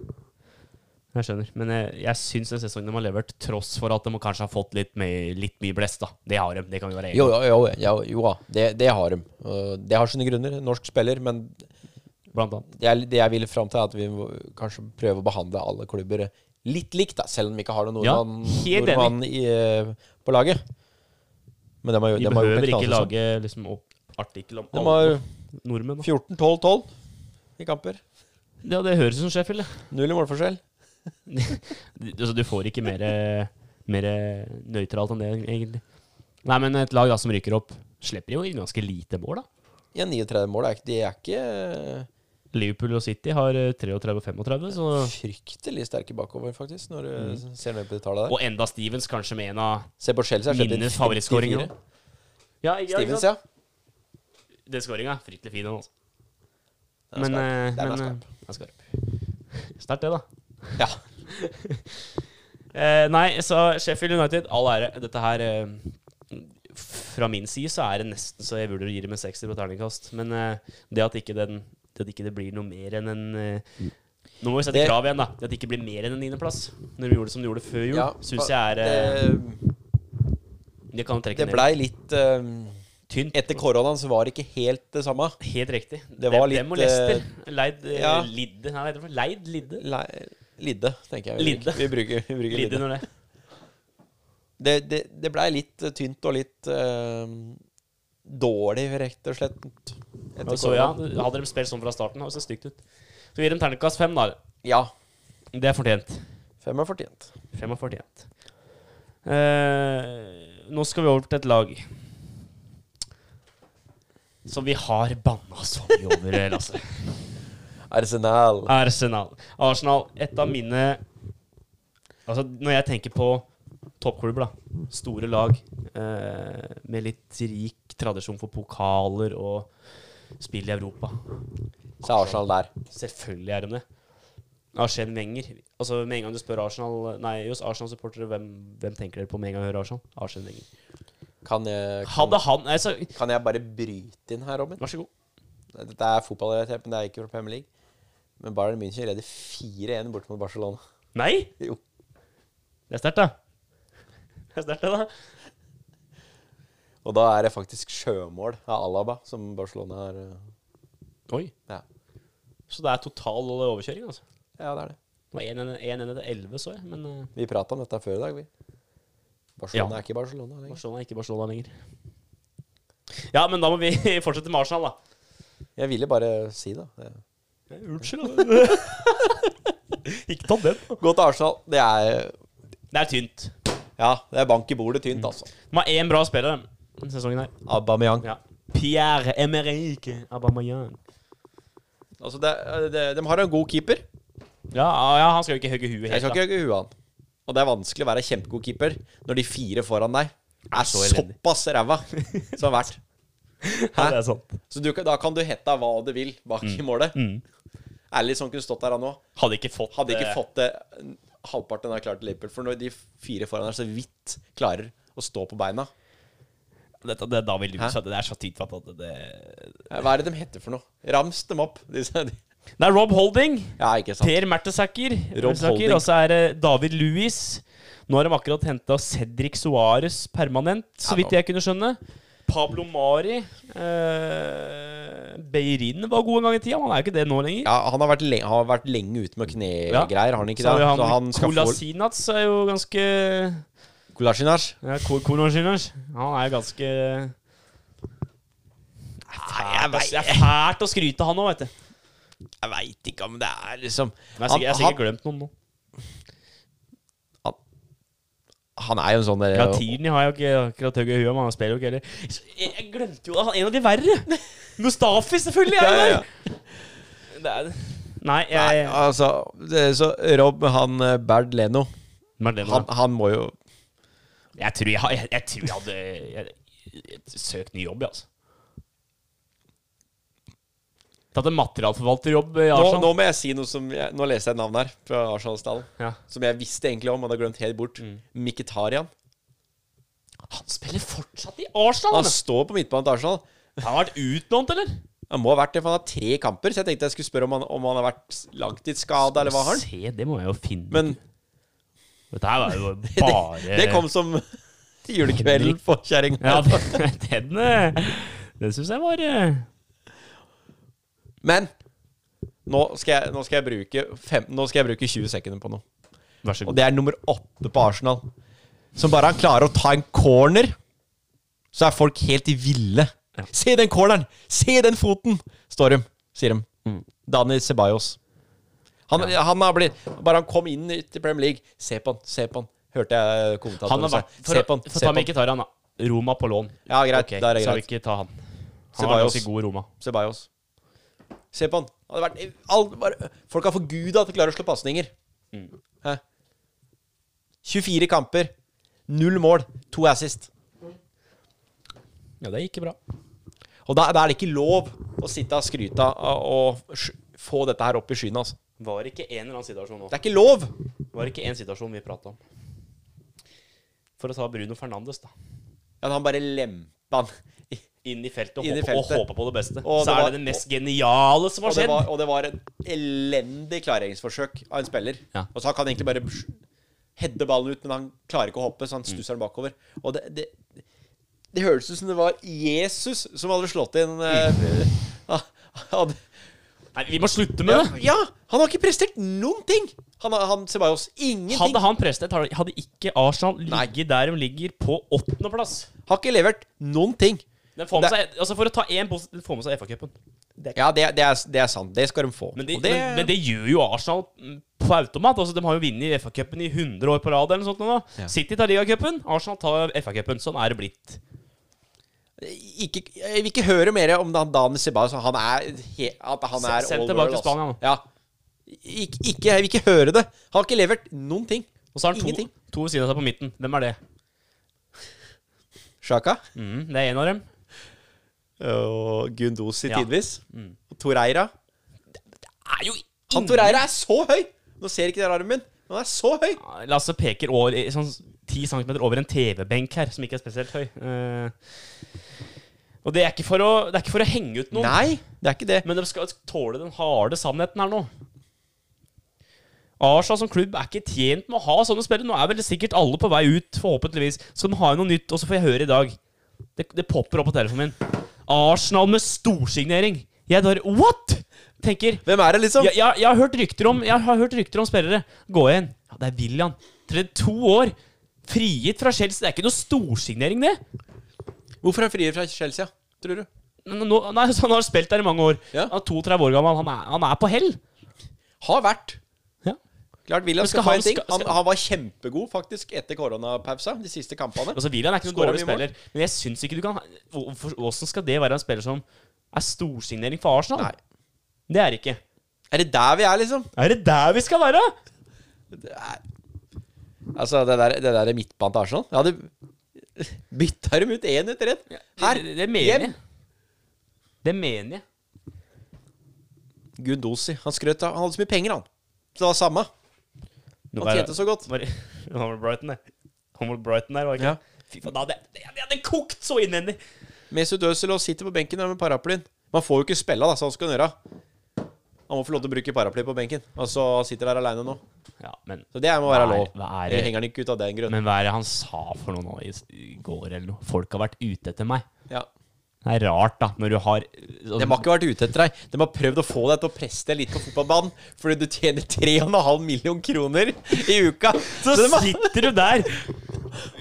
S3: Jeg skjønner. Men jeg, jeg syns den sesongen de har levert, tross for at de må kanskje ha fått litt, mye- litt mye blest, da. Det har de. Det kan vi være
S4: Jo,
S3: enige om.
S4: jo, jo, jo, jo da. Det, det har de. Og Det har sine grunner. Norsk spiller, men
S3: Blant annet.
S4: det jeg, det jeg vil fram til, er at vi må kanskje prøve å behandle alle klubber litt likt, da, selv om vi ikke har noen
S3: Ja,
S4: nordmann,
S3: helt enig.
S4: nordmann i, eh, på laget. Men de har, jo-
S3: Vi
S4: de har gjort en
S3: behøver ikke
S4: knallsesong.
S3: lage liksom, opp- artikkel om
S4: De
S3: alle
S4: har
S3: nordmenn. da.
S4: 14-12-12 i kamper.
S3: Ja, det høres ut som Sheffield. det.
S4: Null i målforskjell.
S3: Du, altså, du får ikke mer, eh, mer nøytralt enn det, egentlig. Nei, men et lag da, som rykker opp, slipper jo inn ganske lite mål, da.
S4: Ja, 39 mål er ikke, de er ikke
S3: Liverpool og City har eh, 33 og 35, så Mm.
S4: fryktelig sterke bakover, faktisk, når du ser ned på de tallene der.
S3: Og enda Stevens kanskje med en av
S4: Se på Chelsea. er slett
S3: mine
S4: en
S3: favorittskåringer.
S4: 54.
S3: også. Ja, ja, ikke
S4: Stevens,
S3: sant?
S4: ja.
S3: Den skåringa er fryktelig fin, den, altså.
S4: Den er
S3: Men,
S4: skarp.
S3: eh,
S4: Den er
S3: men
S4: skarp.
S3: eh, den er skarp. Sterkt, det, da.
S4: Ja.
S3: Eh, nei, så Sheffield United, all ære. Dette her eh, Fra min side så er det nesten så jeg burde gi det med 60 på terningkast. Men eh, det at ikke, den, det at ikke det blir noe mer enn en eh, Nå må vi sette
S4: Det-
S3: krav igjen, da. Det at det ikke blir mer enn en niendeplass. Når vi gjorde det som de gjorde før jul,
S4: Ja,
S3: syns jeg er eh,
S4: det,
S3: Det kan trekke
S4: det
S3: ned
S4: blei litt eh,
S3: tynt.
S4: Etter koronaen så var det ikke helt det samme.
S3: Helt riktig.
S4: Det var litt,
S3: Dem og Leicester. Leid eh,
S4: ja.
S3: Lidde. Nei, hva heter det? for? Leid Lidde.
S4: Le- Lidde, tenker jeg. vi
S3: Lidde.
S4: bruker. Vi bruker, vi bruker
S3: Lidde
S4: Lidde.
S3: når det
S4: Det, det, det blei litt eh, tynt og litt eh, dårlig, rett og slett. Etter
S3: så, ja,
S4: koronaen.
S3: Hadde de spilt sånn fra starten, hadde det sett stygt ut. Så vi gir dem terningkast fem, da.
S4: ja.
S3: Det er fortjent.
S4: Fem er fortjent.
S3: 45. Eh, nå skal vi over til et lag som vi har banna så mye over, eh, Lasse.
S4: Arsenal.
S3: Arsenal. Arsenal, et av mine Altså, når jeg tenker på toppklubber, da. Store lag eh, med litt rik tradisjon for pokaler og spill i Europa.
S4: Så er Arsenal der.
S3: Selvfølgelig er de det. Arsene Wenger. Altså, med en gang du spør Arsenal Nei, just Arsenal-supportere, hvem, hvem tenker dere på med en gang dere hører Arsenal? Arsene Wenger.
S4: Kan jeg, kan,
S3: Hadde han altså,
S4: kan jeg bare bryte inn her, Robin?
S3: Vær så god.
S4: Dette er fotballrelatert, men det er ikke fra Premier League. Men Bayern München leder 4-1 bort mot Barcelona.
S3: Nei!
S4: Jo.
S3: Det er sterkt, da. Det er sterkt, det, da.
S4: Og da er det faktisk sjømål av Alaba som Barcelona har eh,
S3: Oi.
S4: Ja,
S3: Så det er total overkjøring, altså.
S4: ja det er det.
S3: Det var 1-1 etter 11, så jeg. Men eh,
S4: Vi prata om dette før i dag, vi. Barcelona
S3: Ja.
S4: er ikke Barcelona lenger.
S3: Barcelona er ikke Barcelona lenger. Ja, men da må vi fortsette med Arsenal, da.
S4: Jeg ville bare si det. Det-
S3: Eh, Unnskyld, da. ikke ta den.
S4: Gå til Arsenal. Det er
S3: Det er tynt.
S4: Ja, det er bank i bordet tynt, altså.
S3: De har én bra spiller dem, denne sesongen her.
S4: Aubameyang.
S3: Ja. Pierre Emerick Aubameyang.
S4: Altså, det, det, de har en god keeper.
S3: Ja, ja, han skal jo ikke hogge huet
S4: Jeg
S3: helt.
S4: skal
S3: da.
S4: ikke hugge huet av han. Og det er vanskelig å være kjempegod keeper når de fire foran deg er
S3: så elendig.
S4: såpass ræva som har vært.
S3: Ja, det er sant.
S4: Så du, kan- da kan du hetta hva du vil bak i målet. Ærlig, sånn kunne stått der han òg.
S3: Hadde ikke fått
S4: Hadde ikke
S3: eh,
S4: fått det halvparten av klart til Liverpool. For når de fire foran her så vidt klarer å stå på beina
S3: Dette, det, da vil du
S4: Hæ?
S3: så Det er så tynt at det
S4: Hva er det de heter for noe? Rams dem opp. Disse, de.
S3: Det er Rob Holding,
S4: Ja, ikke sant.
S3: Per Mertesacker,
S4: Rob
S3: Mertesacker,
S4: Holding.
S3: og så er det David Louis. Nå har de akkurat henta Cedric Suárez permanent, så
S4: Ja,
S3: vidt
S4: da.
S3: jeg kunne skjønne. Pablo Mari. Eh, Beirin var god en gang i tida, men han er jo ikke det nå lenger.
S4: Ja, han har vært, lenge, har vært lenge ute med
S3: Ja.
S4: knegreier, har han ikke
S3: så har vi
S4: det? Så
S3: han,
S4: han skal få
S3: Kolasinac er jo ganske ja,
S4: Kolasjinasj.
S3: Ko- Kolasinac. Han er jo ganske Det er- det er fælt å skryte, han òg, vet du.
S4: Jeg veit ikke om det er liksom
S3: Men Jeg har sikkert, jeg har sikkert
S4: han,
S3: glemt noen nå.
S4: han er jo en sånn der,
S3: Ja, Tierney har jo ikke akkurat høye huet, men han spiller jo ikke heller. Så Jeg, jeg glemte jo han er en av de verre! Mustafi, selvfølgelig! Er jo
S4: Ja, ja, ja.
S3: der. Det er, nei, jeg
S4: Nei, altså det, Så Rob, han eh, Bernd Leno,
S3: Marlene,
S4: han, han må jo
S3: Jeg tror jeg, har- jeg, jeg, tror jeg hadde jeg, søkt ny jobb, jeg, altså. Tatt en materialforvalterjobb i
S4: Nå,
S3: Arsenal.
S4: nå må jeg si noe som jeg, Nå leser jeg et navn her fra Arsenal-stallen.
S3: Ja. Mm.
S4: Som jeg visste egentlig om, hadde glemt helt bort. Mkhitaryan.
S3: Han spiller fortsatt i Arsenal!
S4: Han
S3: Han,
S4: står på midtbanen til Arsenal.
S3: han har vært utlånt, eller?
S4: Han må ha vært det, for han har tre kamper. Så jeg tenkte jeg skulle spørre om han, om han har vært langtidsskada, eller hva har han?
S3: Se, det må jeg jo finne.
S4: Men
S3: Dette her var jo
S4: det,
S3: bare
S4: det kom som til julekvelden på kjerringa.
S3: Ja, det- den eh, Den syns jeg var eh,
S4: Men nå skal, jeg, nå, skal jeg bruke fem, nå skal jeg bruke 20 sekunder på noe.
S3: Vær så
S4: Og
S3: god.
S4: det er nummer åtte på Arsenal. Som bare han klarer å ta en corner, så er folk helt ville. Se den corneren! Se den foten! Står de, sier de.
S3: Mm.
S4: Dani Ceballos. Han, han har blitt Bare han kom inn til Premier League. Se på han, se på han. Hørte jeg
S3: Han
S4: kommentatoren
S3: har
S4: si.
S3: vært For,
S4: Se på han,
S3: for å
S4: se
S3: ta
S4: på
S3: med
S4: han.
S3: ikke tar han, da. Roma på lån.
S4: Ja, greit.
S3: Ok,
S4: der er
S3: så vi
S4: greit.
S3: ikke ta han. Han er
S4: Ceballos.
S3: ganske god i Roma.
S4: Ceballos. Se på han. Han hadde vært, alt, bare, folk har forguda at de klarer å slå pasninger. Hæ? 24 kamper, null mål, to assist.
S3: Ja, det gikk bra.
S4: Og da, da er det ikke lov å sitte og skryte av og sj- få dette her opp i skyene, altså.
S3: Var ikke en eller annen situasjon nå.
S4: Det er ikke lov!
S3: Var ikke en situasjon vi prata om. For å ta Bruno Fernandes, da.
S4: Ja, han bare lempa han.
S3: Inn i feltet og,
S4: Inn i
S3: håpe, og
S4: feltet.
S3: håpe på det beste.
S4: Og
S3: så
S4: det
S3: er
S4: var-
S3: det det mest geniale som
S4: Og
S3: har
S4: det,
S3: skjedd.
S4: var, og det var en elendig klareringsforsøk av en spiller.
S3: Ja.
S4: Og så han kan egentlig bare sj- heade ballen ut, men han klarer ikke å hoppe, så han stusser den bakover. Og det, det, det høres ut som det var Jesus som hadde slått inn eh, han-
S3: Nei, vi må slutte med
S4: ja,
S3: det!
S4: ja! Han har ikke prestert noen ting! Han, har- han Ceballos ingenting.
S3: Hadde han prestet, hadde ikke Arsenal
S4: Nei.
S3: ligget der de ligger, på åttendeplass.
S4: Har ikke levert noen ting.
S3: Den får med
S4: Det-
S3: seg, altså for å ta én positiv, får med seg FA-cupen.
S4: Ja, det, det, er, det er sant. Det skal de få.
S3: Men, de,
S4: Og det,
S3: men, men det gjør jo Arsenal mm, på automat. Altså, de har jo vunnet FA-cupen i 100 år på rad. eller noe sånt nå, da.
S4: Ja.
S3: City tar ligacupen, Arsenal tar FA-cupen. Sånn er det blitt.
S4: ikke, jeg vil ikke høre mer om han Dan Ceballos. Han er, he, at han er
S3: Send- send
S4: all
S3: tilbake til
S4: altså.
S3: Spania nå.
S4: Ja. Ik, ikke, jeg vil ikke høre det. Han har ikke levert noen ting.
S3: Og så er det to,
S4: Ingenting.
S3: to ved siden av seg på midten. Hvem er det?
S4: Sjaka.
S3: Mm, det er en av dem.
S4: Og Gundosi
S3: Ja. Mm.
S4: tidvis. Og Torreira.
S3: Det er jo
S4: Han Torreira er så høy! Nå ser ikke dere armen min, men han er så høy!
S3: Lasse peker over, i- sånn 10 cm over en TV-benk her, som ikke er spesielt høy. Eh, og det er, ikke for å, det er ikke for å henge ut noen,
S4: Nei, det er ikke det.
S3: men de skal tåle den harde sannheten her nå. Arsenal som klubb er ikke tjent med å ha sånne spillere. Nå er vel sikkert alle på vei ut, forhåpentligvis. Skal de ha noe nytt? Og så får jeg høre i dag. Det, det popper opp på telefonen min. Arsenal med storsignering. Jeg bare What?! Tenker
S4: Hvem er det, liksom?
S3: jeg, jeg, jeg har hørt rykter om Jeg har hørt rykter om spillere. Gå igjen. Ja, det er William. 32 år. Frigitt fra Chelsea. Det er ikke noe storsignering, det.
S4: Hvorfor er han frier fra Chelsea, tror du?
S3: Men Nå, nei, så han har spilt der i mange år.
S4: Ja.
S3: Han er 32 år gammel. Han er, han er på hell.
S4: Har vært.
S3: Ja.
S4: Klart William
S3: Men
S4: skal,
S3: skal
S4: få
S3: han-
S4: en ting.
S3: skal-
S4: Han,
S3: skal-
S4: han var kjempegod faktisk etter koronapausa, de siste kampene.
S3: Altså, William er ikke noen
S4: Skårer
S3: dårlig
S4: mye mål.
S3: spiller, men jeg syns ikke du kan Hvorfor- Hvordan skal det være en spiller som er storsignering for Arsenal?
S4: Nei.
S3: Det er det ikke.
S4: Er det der vi er, liksom?
S3: Er det der vi skal være?
S4: Altså, det der, det der er midtbanen til Arsenal. Ja, det bytta dem ut én etter én. Her.
S3: det, det mener
S4: hjem.
S3: jeg. Det mener jeg.
S4: Gundosi. Han skrøt av Han hadde så mye penger, han. Så det var samme. Han
S3: Nå er-
S4: tjente så godt.
S3: Var, han var Brighton, det. Han var Brighton der, var ikke
S4: Ja.
S3: Fy faen, da hadde jeg- jeg hadde jeg kokt så innvendig!
S4: Mesut Özil og sitter på benken der med paraplyen. Man får jo ikke spille, da, så han skal han gjøre. Han må få lov til å bruke paraply på benken. Altså, han sitter der aleine nå.
S3: Ja, men,
S4: Så det må være
S3: Hva er-
S4: lov. Eh,
S3: hva er det?
S4: henger han ikke ut av den grunn.
S3: men hva er det han sa for noe nå i, i går, eller noe? Folk har vært ute etter meg.
S4: Ja.
S3: Det er rart, da, når du har
S4: De har ikke vært ute etter deg. De har prøvd å få deg til å presse deg litt på fotballbanen fordi du tjener 3,5 million kroner i uka.
S3: Så
S4: de har-
S3: sitter du der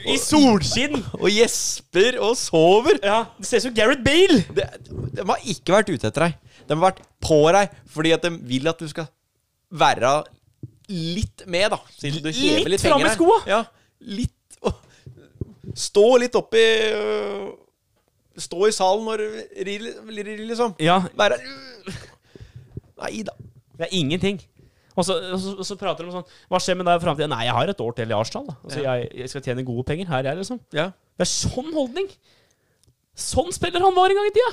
S3: i solskinn!
S4: og gjesper og sover.
S3: Ja, Det ser ut som Gareth Bale!
S4: De, de har ikke vært ute etter deg. De har vært på deg fordi at de vil at du skal være litt med, da. Siden du hever
S3: Litt
S4: litt penger
S3: fram i
S4: her.
S3: skoa.
S4: Ja, litt å, Stå litt oppi øh, Stå i salen når du rir, rir, rir, liksom.
S3: Ja,
S4: Være Nei da.
S3: Det er ingenting. Og så, og så, og så prater de om sånn Hva skjer med deg i framtida? Nei, jeg har et år til i Arsenal. da. Altså, jeg, jeg skal tjene gode penger her, jeg, liksom.
S4: Ja.
S3: Det er sånn holdning! Sånn spiller han var en gang i tida!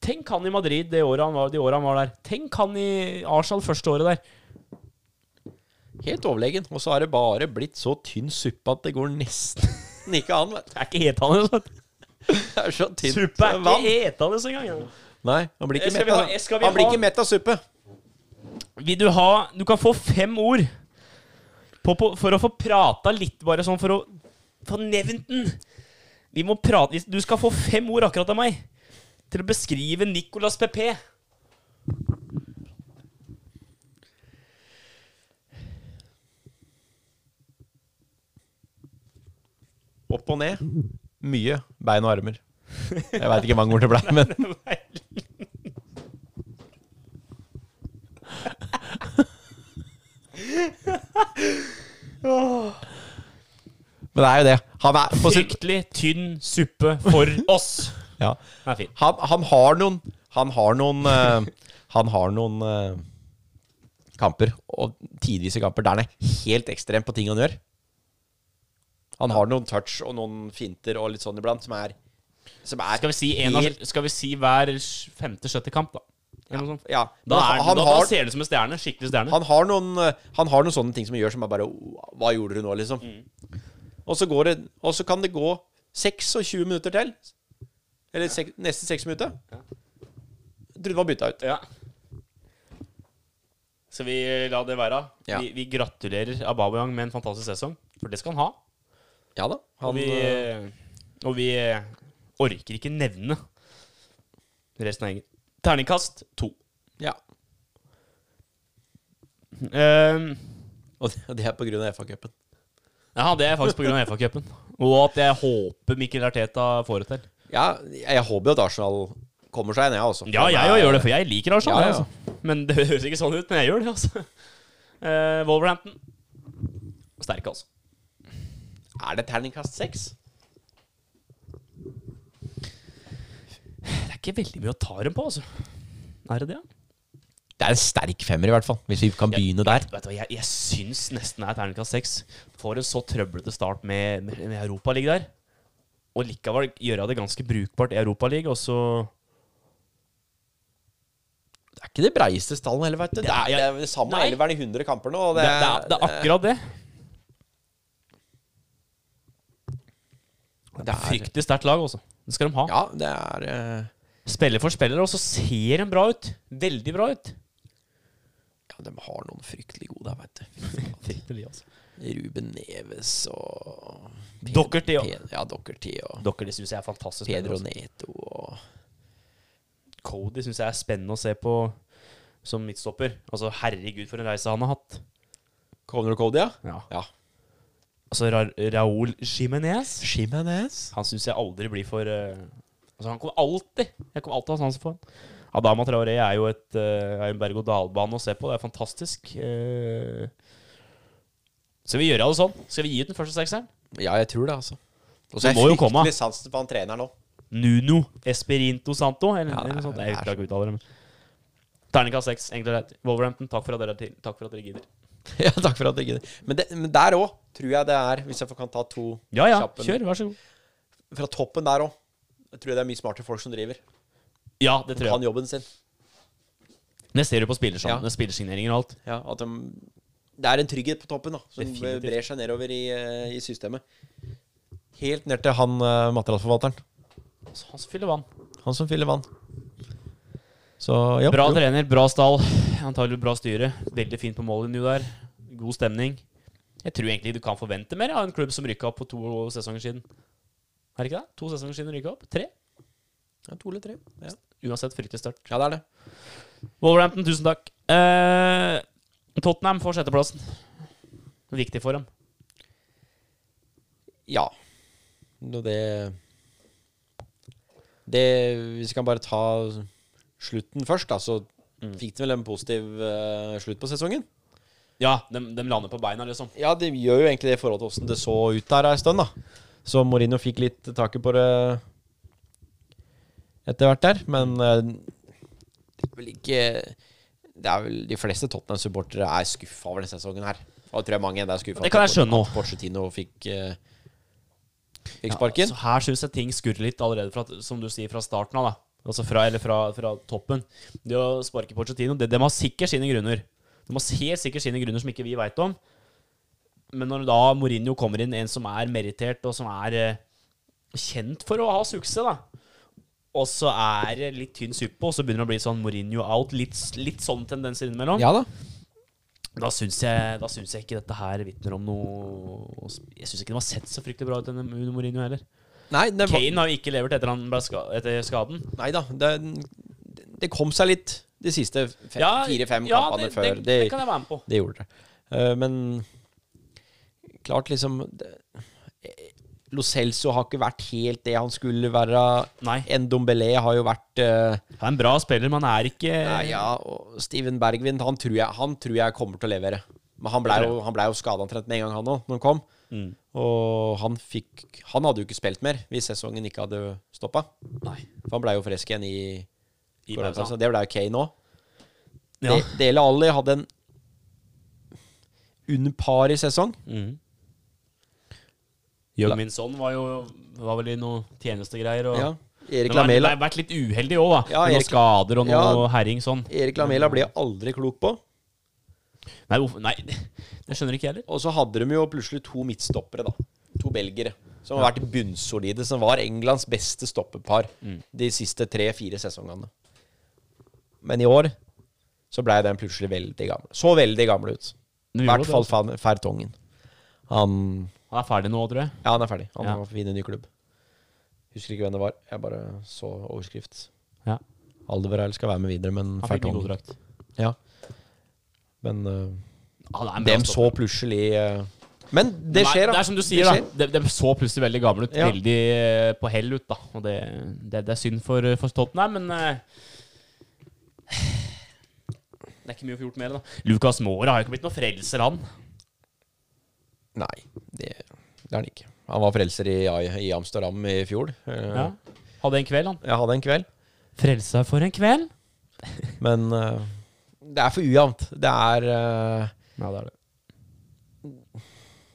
S3: Tenk han i Madrid det året han var, de åra han var der. Tenk han i Arsenal første året der.
S4: Helt overlegen. Og så har det bare blitt så tynn suppe at det går nesten ikke an. vet du.
S3: Det er ikke hetende. Altså.
S4: Det er så tynt
S3: Suppe er ikke
S4: vann.
S3: hetende engang.
S4: Nei, han blir
S3: Eh,
S4: ikke
S3: Skal
S4: mett
S3: vi ha-
S4: av
S3: skal vi
S4: Han blir
S3: ha-
S4: ikke mett av suppe.
S3: Vil du ha Du kan få fem ord på, på, for å få prata litt, bare sånn for å få nevnt den. Vi må prate hvis- Du skal få fem ord akkurat av meg til å beskrive Nicolas PP.
S4: Opp og ned. Mye bein og armer. Jeg veit ikke hvor mange ord det ble, men Men det er jo det. Han er på sitt
S3: Fryktelig tynn suppe for oss.
S4: ja.
S3: Den er fin.
S4: han, han har noen Han har noen eh, Han har noen eh, kamper, og tidvis i kamper der han er helt ekstrem på ting han gjør. Han har noen touch og noen finter og litt sånn iblant som er Som er
S3: Skal vi si, en av, skal vi si hver femte-sjette kamp, da? Eller noe sånt.
S4: Ja.
S3: Da,
S4: Men
S3: er, den-
S4: han,
S3: da, da
S4: har,
S3: ser det ut som en stjerne. Skikkelig stjerne.
S4: han, har noen, eh, han har noen sånne ting som gjør som er bare «Wow, Hva gjorde du nå, liksom?
S3: Mm.
S4: Og, så går det, og så kan det gå 26 minutter til. Eller sek, nesten 6 minutter. Jeg trodde han var bytta ut.
S3: Ja. Så vi la det være.
S4: Ja.
S3: Vi, vi gratulerer Ababayang med en fantastisk sesong, for det skal han ha.
S4: Ja da.
S3: Og
S4: Han,
S3: vi,
S4: eh,
S3: og vi eh, orker ikke nevne resten av gjengen. Terningkast to.
S4: Ja.
S3: Ehm,
S4: Og det, og det er på grunn av FA-cupen.
S3: ja, det er faktisk pga. FA-cupen. Og at jeg håper Mikkel Arteta får det til.
S4: Ja, jeg håper jo at Arsenal kommer seg ned, altså.
S3: Ja, jeg òg gjør det, for jeg liker Arsenal.
S4: Ja, ja.
S3: jeg, Altså. Men det høres ikke sånn ut, men jeg gjør det, altså. Eh, Wolverhampton. Sterke, altså.
S4: Er det terningkast seks?
S3: Det er ikke veldig mye å ta dem på, altså. Er det det?
S4: Det er en sterk femmer, i hvert fall. Hvis vi kan begynne der.
S3: Vet du hva, jeg, jeg syns nesten det er terningkast seks. Får en så trøblete start med, med med Europaliga der. Og likevel gjøre det ganske brukbart i Europaligaen, og så
S4: Det er ikke det breiste stallen heller, vet du. Det er, det er det samme
S3: Nei.
S4: elveren i 100 kamper nå. Og
S3: det,
S4: det,
S3: det, er, det er akkurat det. Det er fryktelig sterkt lag, altså. Det skal de ha.
S4: Ja, det er eh,
S3: Spiller for spiller, og så ser de bra ut. Veldig bra ut.
S4: Ja, de har noen fryktelig gode der, vet du.
S3: Fryktelig, altså.
S4: Ruben Neves og
S3: Docherty, ja.
S4: ja. Ja, Dockerty og
S3: Dere, det syns jeg er fantastisk. spennende,
S4: Pedro
S3: altså.
S4: Neto og
S3: Cody syns jeg er spennende å se på som midtstopper. Altså, herregud, for en reise han har hatt.
S4: Conor Cody, ja?
S3: Ja.
S4: Ja.
S3: Altså Ra Raúl Jiménez
S4: Jimenez.
S3: Han syns jeg aldri blir for eh, Altså Han kommer alltid Jeg kommer alltid til å ha sansen for han. Adama Traoré er jo et, eh, er en berg-og-dal-bane å se på. Det er fantastisk. Eh, skal vi gjøre det sånn? Skal vi gi ut den første sekseren?
S4: Ja, jeg tror det, altså. Og
S3: så må jo komme.
S4: fryktelig sansen på han treneren nå.
S3: Nuno Esperinto Santo? Eller,
S4: Ja, det
S3: eller noe sånt.
S4: er-
S3: Jeg klarer ikke å uttale det. men Terningkast seks, enkelt og greit. Wolverhampton, takk for at dere, er til- takk for at dere gidder.
S4: ja, takk for at du gidder. Men, det- men der òg tror jeg det er, hvis jeg får- kan ta to
S3: Ja ja,
S4: kjappe-
S3: kjør. Vær så god.
S4: Fra toppen der òg. Jeg tror det er mye smarte folk som driver.
S3: Ja, det tror
S4: Kan
S3: jeg.
S4: jobben sin.
S3: Det ser du på
S4: Ja.
S3: spillersan- spillersigneringer og alt.
S4: Ja, at de, det er en trygghet på toppen da, som
S3: Definitivt.
S4: brer seg nedover i, eh, i systemet. Helt ned til han eh, materialforvalteren.
S3: Så Altså, Han fyller vann.
S4: Han som fyller vann. Så ja.
S3: Bra
S4: jo.
S3: trener, bra stall. Antagelig bra styre. Veldig fint på mållinja der. God stemning. Jeg tror egentlig du kan forvente mer av en klubb som rykka opp for to sesonger siden. Er det ikke det? To sesonger siden rykka opp? Tre?
S4: Ja, to eller tre. Ja.
S3: Uansett fryktelig sterkt.
S4: ja, det er det.
S3: Wolverhampton, tusen takk. Eh, Tottenham får sjetteplassen. Viktig for dem.
S4: Ja. Nå det Det Hvis vi kan bare ta slutten først, da, så fikk de vel en positiv eh, slutt på sesongen.
S3: Ja, de, de lander på beina, liksom.
S4: Ja, de gjør jo egentlig det i forhold til åssen det så ut der ei stund, da. Så Mourinho fikk litt taket på det etter hvert der, men eh, det er vel ikke Det er vel De fleste Tottenham-supportere er skuffa over denne sesongen her. Og det tror jeg mange er skuffa
S3: Det kan jeg skjønne også.
S4: Porcetino fikk eh, Fikk sparken.
S3: Så her syns jeg ting skurrer litt allerede, fra, som du sier, fra starten av. da Altså fra, Eller fra, fra toppen. Det å sparke Pochettino, det, de har sikkert sine grunner. De har helt sikkert sine grunner som ikke vi veit om. Men når da Mourinho kommer inn, en som er merittert, og som er eh, kjent for å ha suksess, da. Og så er det litt tynn suppe, og så begynner det å bli sånn Mourinho out. Litt, litt sånne tendenser innimellom.
S4: Ja da.
S3: Da syns jeg, da syns jeg ikke dette her vitner om noe Jeg syns ikke de har sett så fryktelig bra ut, denne Uno Mourinho heller.
S4: Nei, det var,
S3: Kane har jo ikke levert etter han ble ska etter skaden.
S4: nei da. Det, det kom seg litt de siste fem-
S3: Ja,
S4: fire-fem
S3: ja,
S4: kampene
S3: det,
S4: før.
S3: Det, det,
S4: Det,
S3: kan jeg være med på.
S4: det gjorde det. Eh, men klart, liksom det, Lo Celso har ikke vært helt det han skulle være.
S3: Nei.
S4: Ndombele har jo vært eh,
S3: Han er en bra spiller, men han er ikke
S4: Nei, ja, og Steven Bergvin, han tror jeg, han tror jeg kommer til å levere. Men han blei jo, han ble jo skada omtrent med en gang, han òg, når han kom.
S3: Mm.
S4: Og han fikk Han hadde jo ikke spilt mer hvis sesongen ikke hadde stoppa.
S3: Nei.
S4: For han blei jo frisk igjen i,
S3: I
S4: koronapausen.
S3: pausen.
S4: Altså, Det blei jo Kane òg.
S3: Ja.
S4: De, Dele Alli hadde en under par i sesong.
S3: Mm. Jørgenson var jo var vel i noe tjenestegreier. Og,
S4: Ja. Erik
S3: Men han
S4: Lamela.
S3: har vært litt uheldig òg, da.
S4: Ja,
S3: med
S4: Erik-
S3: noen skader og noe
S4: Ja.
S3: herring sånn.
S4: Erik Lamela ble jeg aldri klok på.
S3: Nei, hvorfor- nei, det skjønner ikke jeg heller.
S4: Og så hadde de jo plutselig to midtstoppere, da. To belgere. Som har vært bunnsolide. Som var Englands beste stoppepar
S3: Mm.
S4: de siste tre-fire sesongene. Men i år så blei den plutselig veldig gammel. Så veldig gammel ut.
S3: Men
S4: I
S3: vi gjorde
S4: hvert
S3: det, altså.
S4: fall Fan- Fertongen. Han
S3: Han er ferdig nå, tror jeg.
S4: Ja, han er ferdig. Han
S3: Ja.
S4: har funnet ny klubb. Husker ikke hvem det var. Jeg bare så overskrift.
S3: Ja.
S4: Aldeverheil skal være med videre, men
S3: Han fikk en god
S4: Fertongen
S3: drakt.
S4: Ja. Men øh,
S3: Han er en bra
S4: dem
S3: stopper.
S4: så plutselig øh, Men det
S3: Nei,
S4: skjer, da.
S3: Det er som du sier,
S4: skjer.
S3: da. De, de så plutselig veldig gamle ut.
S4: Ja.
S3: Veldig eh, på hell ut, da. Og det, det, det er synd for, for Tottenham, men eh, Det er ikke mye å få gjort mer, da. Lucas Mora har jo ikke blitt noe frelser, han.
S4: Nei, det, det er han ikke. Han var frelser i, i Amsterdam i fjor. Eh,
S3: Ja. Hadde en kveld, han.
S4: Jeg hadde en kveld,
S3: Frelsa for en kveld?
S4: men eh, det er for ujevnt. Det er eh,
S3: Ja, det er det.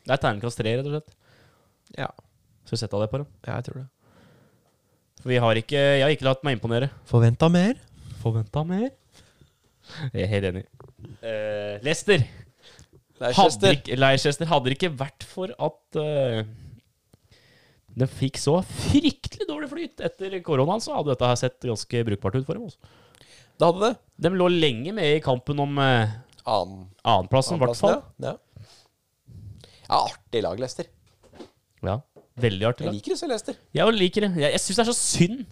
S3: Det er terningkast tre, rett og slett.
S4: Ja,
S3: Skal vi sette av det på dem?
S4: jeg tror det.
S3: For vi har ikke Jeg har ikke latt meg imponere.
S4: Forventa mer?
S3: Forventa mer. Jeg er helt enig. Eh, Lester. Hadde
S4: Leicester.
S3: ikke, Leicester hadde det ikke vært for at eh, det fikk så fryktelig dårlig flyt etter koronaen, så hadde dette her sett ganske brukbart ut for dem. Også.
S4: Det hadde det.
S3: De lå lenge med i kampen om eh,
S4: Annen
S3: annenplassen, i hvert fall.
S4: Ja. ja. ja, artig lag, Lester.
S3: Ja. Veldig artig.
S4: Jeg
S3: da.
S4: liker å se Lester.
S3: Jeg jo liker det. Jeg, jeg syns det er så synd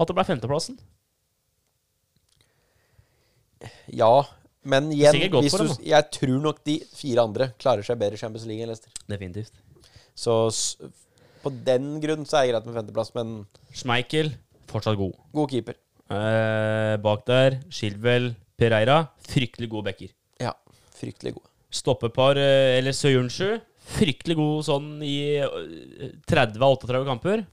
S3: at det ble femteplassen.
S4: Ja, men igjen
S3: Sikkert godt
S4: hvis
S3: for
S4: du,
S3: dem, da.
S4: Jeg tror nok de fire andre klarer seg bedre i Champions League enn Lester.
S3: Definitivt.
S4: Så s- på den grunn så er det greit med femteplass, men
S3: Schmeichel fortsatt god.
S4: god keeper.
S3: Eh, bak der Shilwell, Pereira. Fryktelig gode backer.
S4: Ja, fryktelig god.
S3: Stoppepar eh, eller Søyunsju. Fryktelig god sånn i eh, 30-38 kamper.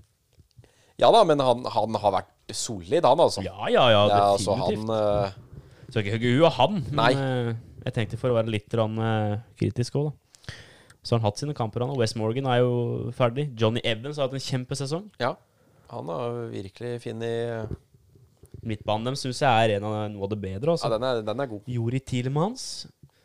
S4: Ja da, men han, han har vært solid, han altså.
S3: Ja, ja, ja,
S4: det er altså
S3: definitivt.
S4: han eh,
S3: Så ikke hugge huet av han, men
S4: Nei.
S3: eh, jeg tenkte for å være litt grann, eh, kritisk òg, da. Så har han hatt sine kamper, han. Og West Morgan er jo ferdig. Johnny Evans har hatt en kjempesesong.
S4: Ja. Han har virkelig funnet
S3: Midtbanen dem syns jeg er en av noe av det bedre.
S4: Ja,
S3: Altså.
S4: den er, den er god.
S3: Jori Tilemans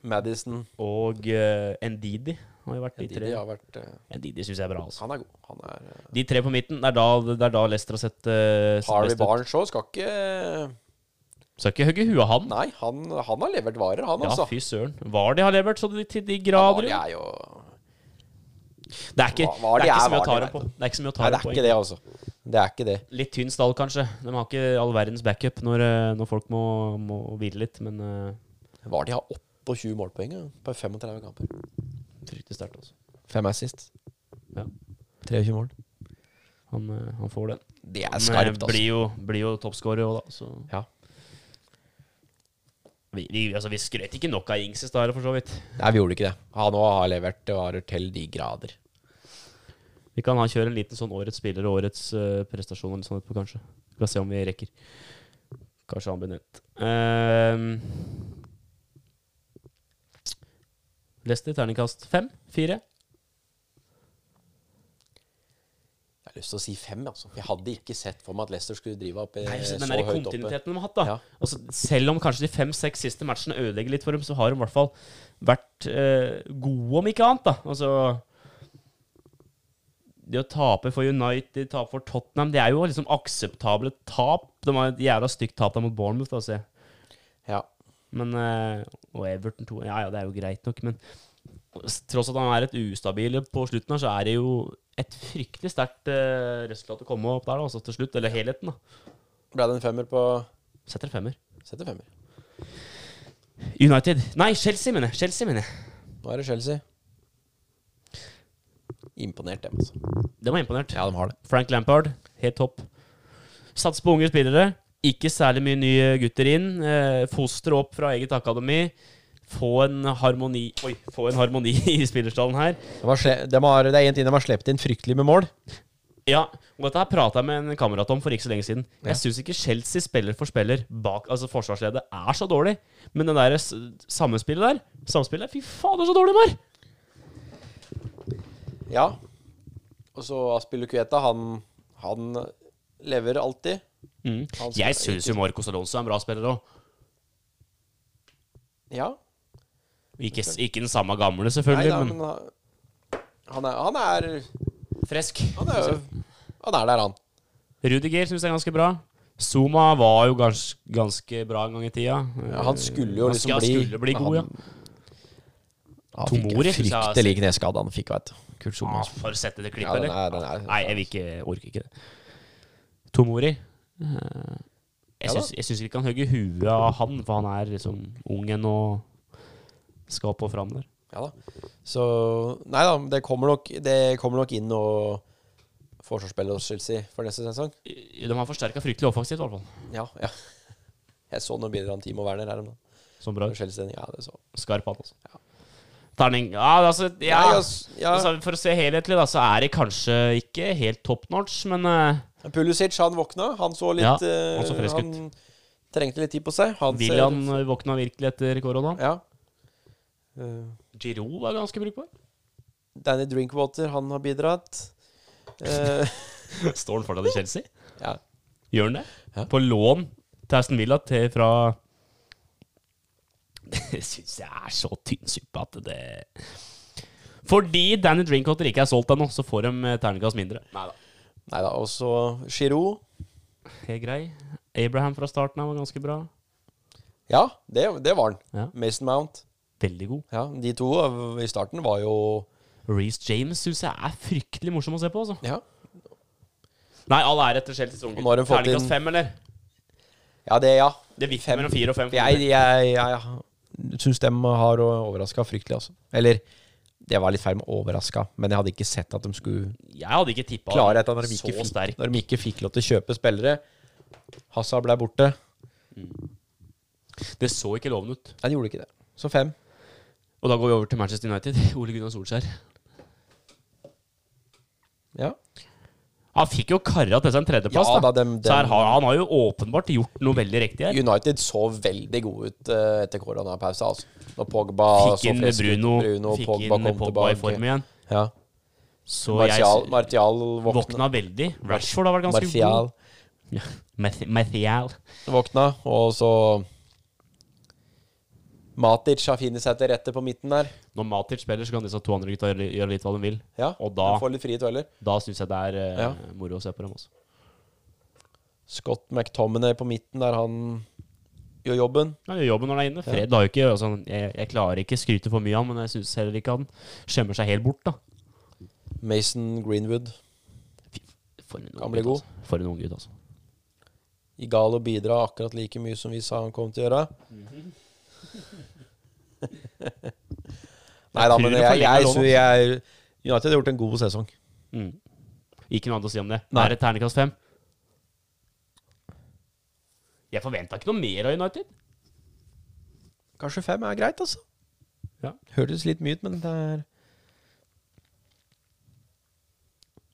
S4: Madison
S3: og eh, Ndidi har jo vært de
S4: Didi
S3: tre.
S4: har vært eh,
S3: Ndidi syns jeg er bra, altså.
S4: Han er god. Han er eh,
S3: De tre på midten, det er da, det er da Leicester har sett, eh, sett
S4: Harvey
S3: best ut.
S4: Barnes òg skal ikke eh,
S3: Skal ikke hugge huet av han.
S4: Nei, han, han har levert varer, han
S3: Ja,
S4: altså.
S3: fy søren. Var de har levert så de, til de grader?
S4: Varer
S3: jo.
S4: er jo
S3: Det er ikke,
S4: Hva- hva
S3: det er
S4: de
S3: ikke
S4: er,
S3: så mye
S4: hva
S3: å ta
S4: de
S3: dem på. Det er ikke så mye å
S4: Nei,
S3: ta
S4: det
S3: dem
S4: er
S3: på.
S4: ikke det, altså. Det er ikke det.
S3: Litt tynn stall, kanskje. De har ikke all verdens backup når, eh, når folk må, må hvile litt, men eh,
S4: Var de har 28 målpoeng ja, på 35 kamper.
S3: fryktelig sterkt, altså.
S4: Fem assist.
S3: Ja.
S4: 23 mål.
S3: Han, eh, han får den.
S4: Det er
S3: Men, eh,
S4: skarpt, altså.
S3: Blir jo, blir jo toppscorer òg, da. Så.
S4: Ja.
S3: Vi, vi, altså, vi skrøt ikke nok av Ings i stad, for så vidt.
S4: Nei, vi gjorde ikke det. Han òg har levert varer til de grader.
S3: Vi kan ha kjøre en liten sånn årets spiller og årets eh, prestasjon eller sånn etterpå, kanskje. Vi skal se om vi rekker. Kanskje han blir nevnt. Ehm. Leicester, terningkast fem? Fire?
S4: har lyst til å si fem, altså. For jeg hadde ikke sett for meg at Leicester skulle drive opp eh,
S3: Nei, så
S4: så
S3: den der
S4: høyt oppe.
S3: kontinuiteten de har hatt, da.
S4: Ja.
S3: Altså, selv om kanskje de fem-seks siste matchene ødelegger litt for dem, så har de i hvert fall vært eh, gode, om ikke annet, da. Altså Det å tape for United, tape for Tottenham, det er jo liksom akseptable tap. De har et jævla stygt tap da mot Bournemouth, altså.
S4: Ja.
S3: Men eh, Og Everton 2 Ja ja, det er jo greit nok, men s- tross at han er et ustabil på slutten her, så er det jo et fryktelig sterkt eh, resultat å komme opp der, da, altså til slutt. Eller helheten, da.
S4: Ble det en femmer på
S3: Setter en femmer.
S4: Setter femmer.
S3: United. Nei, Chelsea, mener jeg. Chelsea, mener jeg.
S4: Nå er det Chelsea. Imponert, dem, altså.
S3: De var imponert.
S4: Ja, de har det.
S3: Frank Lampard, helt topp. Sats på unge spillere. Ikke særlig mye nye gutter inn. Eh, Foster opp fra eget akademi. Få en harmoni Oi, få en harmoni i spillerstallen her.
S4: De har sle de har, det er en ting de har sluppet inn fryktelig med mål.
S3: Ja, og dette her prata jeg med en kamerat om for ikke så lenge siden.
S4: Ja.
S3: Jeg syns ikke Chelsea spiller for spiller bak Altså, forsvarsleddet er så dårlig, men det der s- samspillet der Samspillet, fy fader, så dårlig de er!
S4: Ja. Og så Aspillukueta, han, han lever alltid.
S3: Mm.
S4: Han spiller
S3: Jeg syns jo Marcos Alonso er en bra spiller òg.
S4: Ja.
S3: Ikke, ikke den samme gamle,
S4: Nei
S3: selvfølgelig,
S4: da,
S3: men
S4: men han- han er, han er
S3: frisk.
S4: Han er jo Han er der, han.
S3: Rudiger syns jeg er ganske bra. Zuma var jo gans ganske bra en gang i tida.
S4: Ja, han skulle jo
S3: Han
S4: liksom
S3: skulle-
S4: bli
S3: skulle bli god,
S4: han, Han fikk
S3: Tomori,
S4: en
S3: synes jeg,
S4: fryktelig kneskade han fikk, veit du. Kurt
S3: ja.
S4: Zuma.
S3: Ah, for å sette det
S4: Ja,
S3: klippet,
S4: den
S3: eller?
S4: er, den er,
S3: Nei, jeg vil ikke, orker ikke det. Tomori eh,
S4: Ja
S3: Jeg
S4: da.
S3: syns- jeg syns ikke han hugger huet av han, for han er liksom ung ennå og skal opp og fram der.
S4: Ja da. Så Nei da, det kommer nok, det kommer nok inn og forsvarsspillet hos Chelsea for neste sesong.
S3: Eh, De har forsterka fryktelig offensivt, i hvert fall.
S4: Ja, ja. Jeg så noen bilder av Timo Werner her om dagen.
S3: Som bra.
S4: Og Chelsea, ja, det så.
S3: Skarp han, altså.
S4: Ja.
S3: Terning Ja, altså, ja.
S4: Nei, ass, ja.
S3: Altså, For å se helhetlig, da, så er det kanskje ikke helt top notch, men eh,
S4: Pulisic, han våkna. Han så litt
S3: Ja,
S4: eh,
S3: han så frisk ut.
S4: trengte litt tid på seg. Han ser-
S3: William våkna virkelig etter korona.
S4: Ja. Eh,
S3: Giroud var ganske brukbar.
S4: Danny Drinkwater, han har bidratt. Eh,
S3: Står han fortsatt i Chelsea?
S4: ja.
S3: Gjør han det?
S4: Ja.
S3: På lån til Aston Villa til fra Det syns jeg er så tynnsuppe at det Fordi Danny Drinkwater ikke er solgt ennå, så får de eh, terningkast mindre. Neida.
S4: Nei da, og så Giroud.
S3: Helt grei. Abraham fra starten av var ganske bra.
S4: Ja, det, det var han.
S3: Ja.
S4: Mason Mount.
S3: Veldig god.
S4: Ja, de to av- i starten var jo
S3: Reece James syns jeg er fryktelig morsom å se på, altså.
S4: Ja,
S3: Nei, all ære etter Chelseas unge.
S4: Og nå har de fått inn-
S3: Terningkast fem, eller?
S4: ja det, ja.
S3: Det vipper mellom fire og fem.
S4: For Jeg, jeg, jeg syns dem har overraska fryktelig, altså. Eller det var litt feil med overraska, men jeg hadde ikke sett at de skulle
S3: Jeg hadde ikke tippa
S4: klare dette når de
S3: så
S4: ikke fikk,
S3: sterk.
S4: når de ikke fikk lov til å kjøpe spillere. Hassa ble borte.
S3: Det så ikke lovende ut.
S4: Nei, de gjorde ikke det. Så fem.
S3: Og da går vi over til Manchester United. Ole Gunnar Solskjær.
S4: Ja.
S3: Han fikk jo kara til seg en tredjeplass,
S4: Ja,
S3: da.
S4: da, dem- dem-
S3: Så her har, han har jo åpenbart gjort noe veldig riktig her.
S4: United så veldig gode ut eh, etter koronapausa. Altså. Når Pogba
S3: Fikk
S4: så
S3: inn
S4: frisk ut,
S3: Bruno,
S4: Bruno
S3: fikk
S4: Pogba
S3: inn
S4: kom
S3: Pogba i
S4: tilbake.
S3: form igjen.
S4: Ja.
S3: Så
S4: Martial,
S3: jeg
S4: Martial
S3: s-
S4: våkna.
S3: våkna veldig. Rashford har vært ganske
S4: Martial
S3: god. Martial. Martial.
S4: våkna, og så Matic har funnet seg til rette på midten der.
S3: Når Matic spiller, så kan disse to andre gutta gjøre gjøre litt hva de vil.
S4: Ja,
S3: Og da-
S4: han Får litt frie dueller.
S3: Da syns jeg det er eh,
S4: Ja.
S3: moro å se på dem også.
S4: Scott McTominay på midten der han gjør jobben.
S3: Han gjør jobben når han er inne. Fred har jo ikke altså, jeg, jeg klarer ikke skryte for mye av ham, men jeg syns heller ikke han skjemmer seg helt bort, da.
S4: Mason Greenwood.
S3: For en
S4: Kan
S3: ung
S4: bli
S3: gutt,
S4: god.
S3: altså. For en ung gutt, altså.
S4: Igalo bidrar akkurat like mye som vi sa han kom til å gjøre. Nei da,
S3: Jeg tror
S4: men
S3: du
S4: jeg,
S3: forlenger
S4: jeg,
S3: lånet.
S4: jeg, jeg United har gjort en god sesong.
S3: Mm. Ikke noe annet å si om det.
S4: Nei.
S3: Er det terningkast fem? Jeg forventa ikke noe mer av United.
S4: Kanskje fem er greit, altså.
S3: Ja.
S4: Hørtes litt mye ut, men det er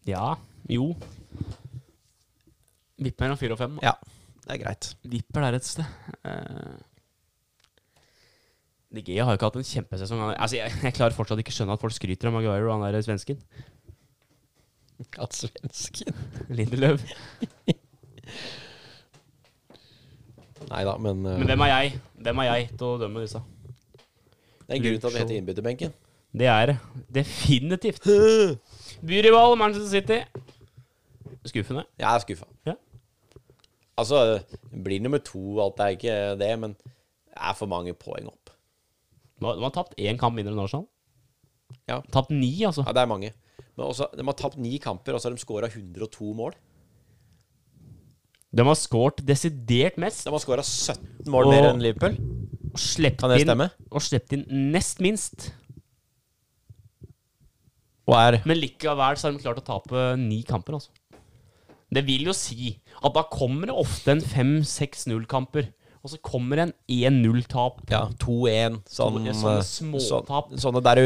S3: Ja, jo. Vipper mellom fire og fem. da.
S4: Ja, det er greit.
S3: Vipper der et sted. Eh, De Gea har jo ikke hatt en kjempesesong. Han- Altså, jeg, jeg klarer fortsatt ikke skjønne at folk skryter av Maguire og han der svensken.
S4: At svensken
S3: Lindeløv.
S4: Nei da, men, eh,
S3: Men hvem er jeg? Hvem er jeg til å dømme disse?
S4: det er en grunn til at det heter innbytterbenken.
S3: Det er det. definitivt. Byrival Manchester City. Skuffende.
S4: Jeg er skuffa.
S3: Ja.
S4: Altså, blir nummer to, alt er ikke det, men det er for mange poeng opp.
S3: De har de har tapt én kamp mindre enn Arsenal.
S4: Ja.
S3: Tapt ni, altså.
S4: Ja, det er mange. Men også, de har tapt ni kamper, og så har de scora 102 mål.
S3: De har skåret desidert mest.
S4: De har scora 17 mål
S3: Og-
S4: mer enn Liverpool.
S3: Og slept
S4: Kan det
S3: inn,
S4: stemme?
S3: og slept inn nest minst.
S4: Og er
S3: Men likevel så har de klart å tape ni kamper, altså. Det vil jo si at da kommer det ofte en 5-6-0-kamper. Og så kommer det en 1-0-tap.
S4: Ja, 2-1. Sånn,
S3: To- sånne
S4: eh,
S3: småtap.
S4: sånn- Sånne der du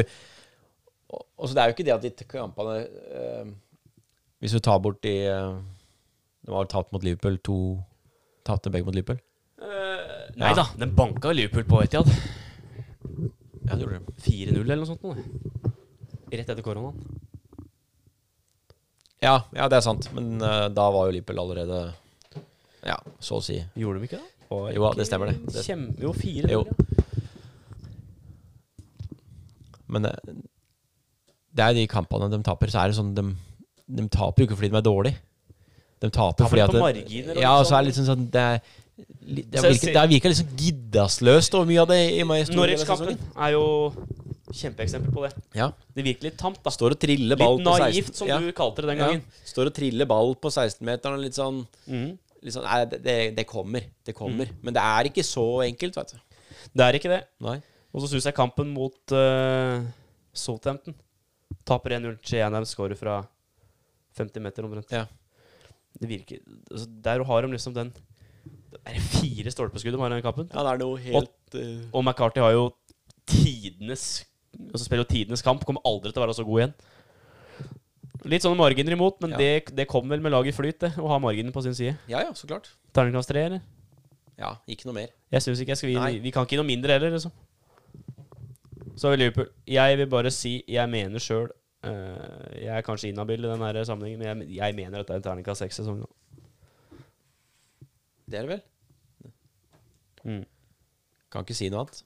S4: og- og så Det er jo ikke det at de t- kampene eh, Hvis du tar bort de eh, De har tapt mot Liverpool to Tapte begge mot Liverpool.
S3: Nei da, den banka Liverpool på Etiad.
S4: Ja, det gjorde de.
S3: 4-0 eller noe sånt. nå, det. Rett etter koronaen.
S4: Ja, ja, det er sant. Men eh, da var jo Liverpool allerede Ja, så å si.
S3: Gjorde de ikke det?
S4: Og, jo, det stemmer, det. det
S3: Kjem, jo, 4-0.
S4: Jo.
S3: ja.
S4: Men eh, det er de kampene de taper, så er det sånn De, de taper jo ikke fordi de er dårlige. De taper,
S3: Taper
S4: fordi at
S3: på
S4: det-
S3: marginer og
S4: Ja,
S3: litt
S4: og så er
S3: sånn.
S4: det liksom sånn Det, er, li- det,
S3: Så jeg
S4: virker,
S3: ser-
S4: det virker liksom giddasløst over mye av det i meg.
S3: Norwich-kampen er jo kjempeeksempel på det.
S4: Ja.
S3: Det virker litt tamt, da.
S4: Står og triller ball
S3: Litt
S4: på 16
S3: naivt, som
S4: ja.
S3: du kalte det den
S4: ja.
S3: gangen.
S4: Står og triller ball på 16-meteren og litt sånn,
S3: Mhm.
S4: litt sånn Nei, det, det, det kommer. Det kommer.
S3: Mm.
S4: Men det er ikke så enkelt, vet du.
S3: Det er ikke det.
S4: Nei.
S3: Og så syns jeg kampen mot uh, Southampton Taper 1-0. Cheyanam scorer fra 50 meter omtrent.
S4: Ja.
S3: Det virker altså, Der har de liksom den Det er fire stolpeskudd de har i den kampen.
S4: Ja, det er noe helt eh,
S3: Og McCarthy har jo tidenes Altså spiller jo tidenes kamp. Kommer aldri til å være så god igjen. Litt sånne marginer imot, men
S4: Ja.
S3: det, det kom vel med laget i flyt, det. Å ha marginen på sin side.
S4: Ja ja, så klart.
S3: Terningkast tre, eller?
S4: Ja, ikke noe mer.
S3: Jeg synes ikke jeg skal
S4: Nei.
S3: gi Vi kan ikke gi noe mindre heller, liksom. Så har vi Liverpool. Jeg vil bare si jeg mener sjøl Jeg er kanskje inhabil i den her sammenhengen, men jeg, jeg mener at det er en terningkast seks-sesong nå.
S4: Det er det vel?
S3: Mm.
S4: Kan ikke si noe annet.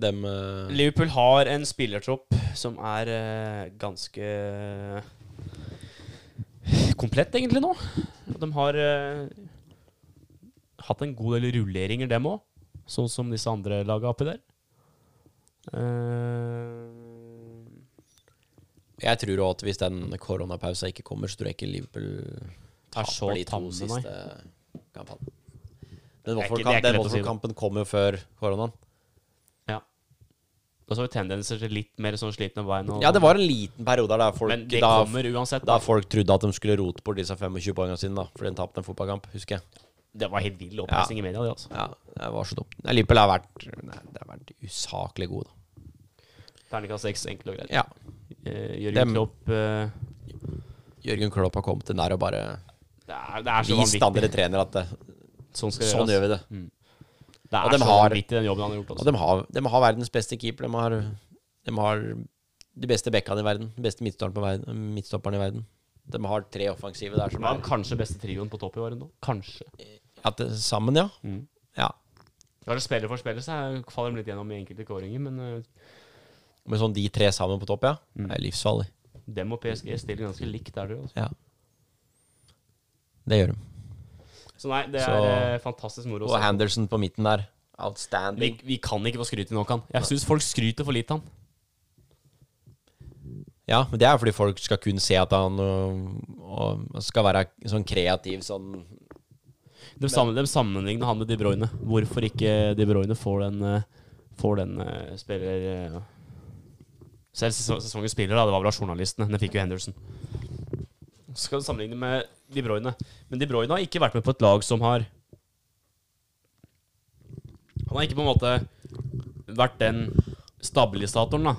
S4: Dem eh,
S3: Liverpool har en spillertropp som er eh, ganske komplett, egentlig, nå. Og de har eh, hatt en god del rulleringer, dem òg. Sånn som disse andre laga oppi der. Eh,
S4: Jeg tror også at hvis den koronapausa ikke kommer, så tror jeg ikke Liverpool taper
S3: så
S4: de to
S3: tamme,
S4: siste kampene. Den
S3: Det er ikke- det er
S4: Watford-kamp-
S3: ikke
S4: den
S3: lett å si det.
S4: Watford-kampen kom jo før koronaen.
S3: Ja. Og så har vi tendenser til litt mer sånn slitne bein. Og,
S4: Ja, det var en liten periode der folk,
S3: men det
S4: da,
S3: kommer uansett. Da.
S4: da folk trodde at de skulle rote bort disse 25 poengene sine, da, fordi de tapte en fotballkamp, husker jeg.
S3: Det var helt vill opplesning i media, det, altså.
S4: Ja, Det var så dumt. Nei, Liverpool har vært, nei, det har vært usaklig gode, da.
S3: Terningkast seks, enkelt og greit.
S4: Ja.
S3: Eh,
S4: Dem-
S3: Jørgen Klopp eh,
S4: Jørgen Klopp har kommet inn der og bare
S3: det, er, det er så
S4: vist
S3: vanvittig.
S4: andre trenere at det,
S3: Sånn skal det
S4: sånn
S3: gjøres.
S4: gjør vi det.
S3: Det
S4: Og
S3: er
S4: dem
S3: så
S4: har-
S3: vanvittig, den jobben han har gjort.
S4: Og
S3: Altså.
S4: de har, de har verdens beste keeper. De har, de har de beste bekkene i verden. De beste midtstopperne på verden- midtstopperne i verden. De har tre offensive der som
S3: De har
S4: er
S3: kanskje beste trioen på topp i år ennå. Kanskje.
S4: at det, Sammen, ja.
S3: Mm.
S4: ja.
S3: Kanskje spiller for spiller, så er- faller de litt gjennom i enkelte kåringer, men eh,
S4: Men sånn de tre sammen på topp, ja.
S3: Mm.
S4: Det er livsfarlig.
S3: dem og PSG stiller ganske likt, er det jo. Altså.
S4: Ja. Det gjør de.
S3: Så nei, det er
S4: Så-
S3: eh, fantastisk moro. å
S4: Og
S3: se.
S4: Henderson på midten der.
S3: Vi,
S4: Outstanding.
S3: vi kan ikke få skryt i nok, han. Jeg syns folk skryter for lite, han.
S4: Ja, men det er fordi folk skal kun se at han øh, og skal være sånn kreativ sånn
S3: De, sammen, de sammenligner han med De Bruyne. Hvorfor ikke De Bruyne får den, eh, får den eh, spiller... eh, Selv ses- sesongens spiller, da, det var vel av journalistene. Den fikk jo Henderson. Så skal du sammenligne med De Bruyne. Men De Bruyne har ikke vært med på et lag som har Han har ikke på en måte vært den stabilisatoren da,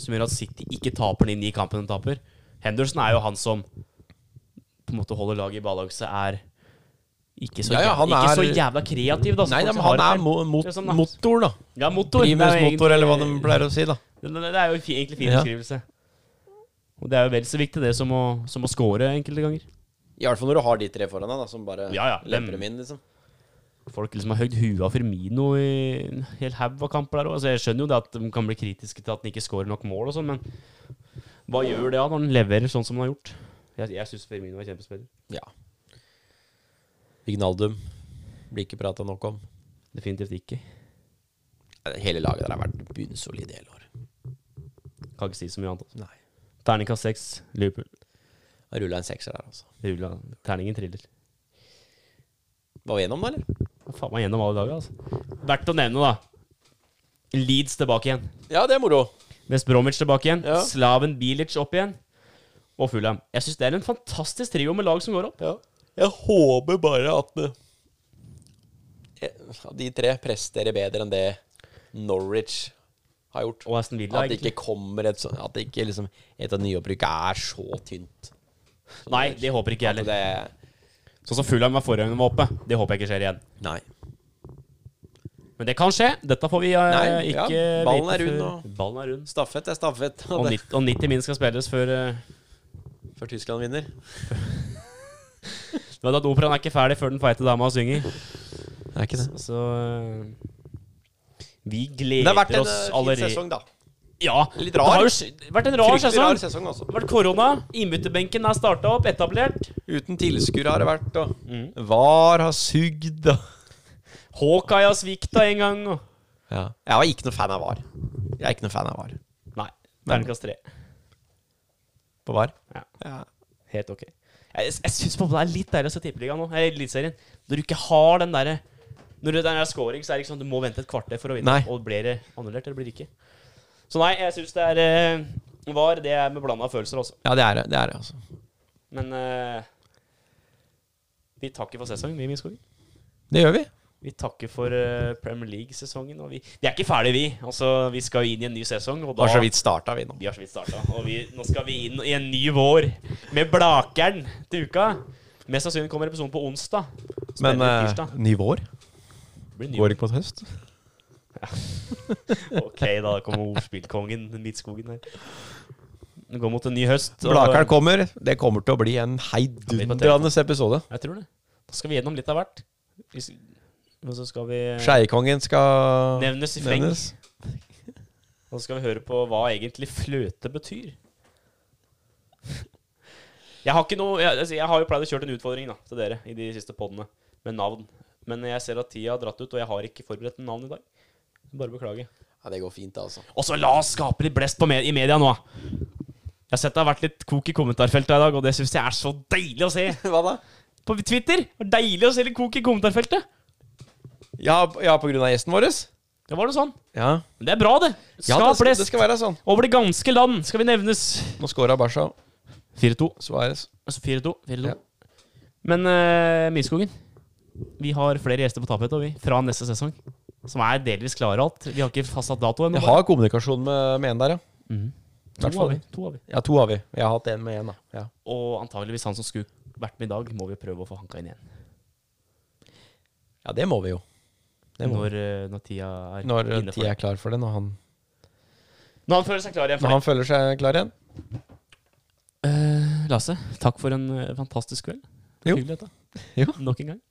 S3: som gjør at City ikke taper de ni kampene de taper. Henderson er jo han som på en måte holder laget i balanse, er ikke så,
S4: Ja, ja,
S3: jæv-
S4: han
S3: ikke
S4: er-
S3: så jævla kreativ, da. som
S4: Nei,
S3: Altså, folk
S4: men
S3: som
S4: han
S3: har
S4: er
S3: det.
S4: mo mot,
S3: Det er sånn, da.
S4: motor, da.
S3: Ja, motor. Det er
S4: Primus
S3: jo
S4: motor, eller hva de
S3: egentlig-
S4: pleier å si, da.
S3: Det, det, det er jo fi- egentlig fin
S4: Ja.
S3: beskrivelse. Og det er jo vel så viktig det som å, som å score enkelte ganger.
S4: I hvert fall når du har de tre foran deg, da, som bare
S3: Ja, ja, dem-
S4: lemper dem inn, liksom.
S3: Folk liksom har høyd huet av Firmino i en hel haug av kamper der òg. Altså, jeg skjønner jo det at de kan bli kritiske til at han ikke scorer nok mål og sånn, men hva gjør det da når han leverer sånn som han har gjort? Jeg, jeg syns Firmino er kjempespiller.
S4: Ja. Vignaldum blir ikke prata nok om.
S3: Definitivt ikke.
S4: Hele laget der har vært bunnsolid i hele år.
S3: Kan ikke si så mye annet. altså.
S4: Nei.
S3: Terningkast seks, Liverpool.
S4: Rulla en sekser der, altså.
S3: Rulla. Terningen triller.
S4: Var vi gjennom, da, eller?
S3: Faen meg gjennom alle dager, altså. Verdt å nevne, da. Leeds tilbake igjen.
S4: Ja, det er moro.
S3: West Bromwich tilbake igjen.
S4: Ja.
S3: Slaven Bilic opp igjen. Og Fulham. Jeg syns det er en fantastisk trio med lag som går opp.
S4: Ja. Jeg håper bare at eh, at de tre presterer bedre enn det Norwich har gjort.
S3: Og Aston Villa,
S4: At det
S3: egentlig.
S4: ikke kommer et sånt At det ikke liksom et av nyopprykket er så tynt.
S3: Nei, det håper ikke jeg
S4: At
S3: heller.
S4: det
S3: Sånn som Fulham var forrige gang de var oppe. Det håper jeg ikke skjer igjen.
S4: Nei.
S3: Men det kan skje. Dette får vi eh,
S4: Nei, ja.
S3: ikke
S4: Ballen
S3: vite
S4: er rund
S3: før- Ballen er rund.
S4: Staffet er staffet.
S3: Og
S4: Og det,
S3: 90, og 90 min skal spilles før eh,
S4: før Tyskland vinner.
S3: Du vet at operaen er ikke ferdig før den feite dama synger.
S4: Det er ikke det.
S3: Så eh, Vi
S4: Det har vært
S3: gleder
S4: en
S3: oss
S4: eh, fin
S3: allerede.
S4: sesong, da.
S3: Ja.
S4: Litt
S3: Det
S4: rar.
S3: har jo sk- vært en rar
S4: Fryktelig rar
S3: sesong.
S4: sesong, altså.
S3: Det har vært korona. Innbytterbenken er starta opp, etablert.
S4: Uten tilskuere har det vært, og
S3: Mm.
S4: VAR har sugd, og
S3: Hawkeye har svikta en gang. Og...
S4: ja. Jeg var ikke noe fan av VAR. Jeg er ikke noe fan av VAR.
S3: Nei. Terningkast tre.
S4: På VAR.
S3: Ja.
S4: Ja.
S3: Helt ok. Jeg, jeg syns det er litt deilig å se Tippeligaen nå. Eller Eliteserien. Når du ikke har den derre Når det der er scoring, så er det ikke sånn at du må vente et kvarter for å vinne.
S4: Nei.
S3: Og blir det annullert, eller blir det ikke. Så nei, jeg syns det er eh, var det er med blanda følelser, altså.
S4: Ja, det er det. det, er det altså.
S3: Men eh, vi takker for sesongen, vi, Midtskogen.
S4: Det gjør vi.
S3: Vi takker for eh, Premier League-sesongen. Og vi, vi er ikke ferdige, vi. Altså, vi skal jo inn i en ny sesong. Og da,
S4: Bare så vidt starta vi nå.
S3: Vi har så vidt starta, og vi, nå skal vi inn i en ny vår med Blakeren til uka. Mest sannsynlig kommer episoden på onsdag.
S4: Men
S3: Spennende
S4: eh,
S3: tirsdag.
S4: ny vår
S3: Det blir ny.
S4: går ikke mot høst.
S3: Ok, da kommer ordspillkongen Midtskogen her. Det går mot en ny høst. og-
S4: Blakeren kommer. Det kommer til å bli en
S3: Ja,
S4: heidundrende episode.
S3: Jeg tror det. Da skal vi gjennom litt av hvert. Vi s- Og så skal vi
S4: Skeiekongen skal
S3: nevnes i fleng. Og så skal vi høre på hva egentlig fløte betyr. Jeg har ikke noe Jeg, altså, jeg har jo pleid å kjøre en utfordring da, til dere i de siste podene med navn. Men jeg ser at tida har dratt ut, og jeg har ikke forberedt en navn i dag. Bare beklager.
S4: Ja, det går fint, altså.
S3: Og så la oss skape litt blest på med, i media nå. da. Jeg har sett det har vært litt kok i kommentarfeltet i dag, og det syns jeg er så deilig å se.
S4: Hva da?
S3: På Twitter! Det var Deilig å se litt kok i kommentarfeltet.
S4: Ja, p- ja på grunn av gjesten vår?
S3: Det var noe sånn.
S4: Ja.
S3: Men det er bra, det.
S4: ja
S3: Skap
S4: det, skal,
S3: blest.
S4: det skal være sånn.
S3: Over det ganske land skal vi nevnes.
S4: Nå scora Barca
S3: 4-2.
S4: Suárez.
S3: Altså 4-2. 4-2.
S4: Ja.
S3: Men uh, Midtskogen, vi har flere gjester på tapetet og vi, fra neste sesong. Som er delvis klare alt. Vi har ikke fastsatt dato ennå.
S4: Jeg har kommunikasjon med, med en der, ja.
S3: bare.
S4: hvert
S3: to,
S4: fall.
S3: har vi, to har vi.
S4: Ja, to har vi. Jeg har hatt en med en, da. Ja.
S3: Og antageligvis han som skulle vært med i dag, må vi prøve å få hanka inn igjen.
S4: ja, det må vi jo. Det må vi.
S3: Når, eh, når tida er
S4: Når eh,
S3: inne for
S4: tida
S3: det.
S4: er klar for det. Når han,
S3: Når han føler seg klar igjen
S4: når
S3: for det.
S4: han føler seg klar igjen.
S3: Eh, Lasse, takk for en eh, fantastisk kveld.
S4: Jo.
S3: Hyggelig, dette.
S4: Jo.
S3: Nok en gang.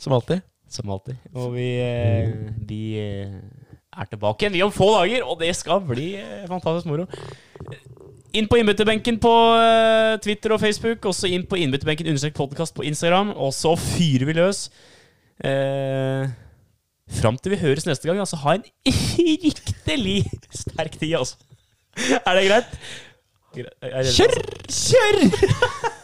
S4: Som alltid.
S3: Som alltid. Og vi, eh, vi eh, er tilbake igjen vi om få dager, og det skal bli eh, fantastisk moro. Inn på innbytterbenken på eh, Twitter og Facebook, også inn på innbytterbenken understrek podkast på Instagram, og så fyrer vi løs. Eh, Fram til vi høres neste gang, altså ha en riktig sterk tid, altså. Er det greit? Gre- er det-
S4: Kjør! Kjør!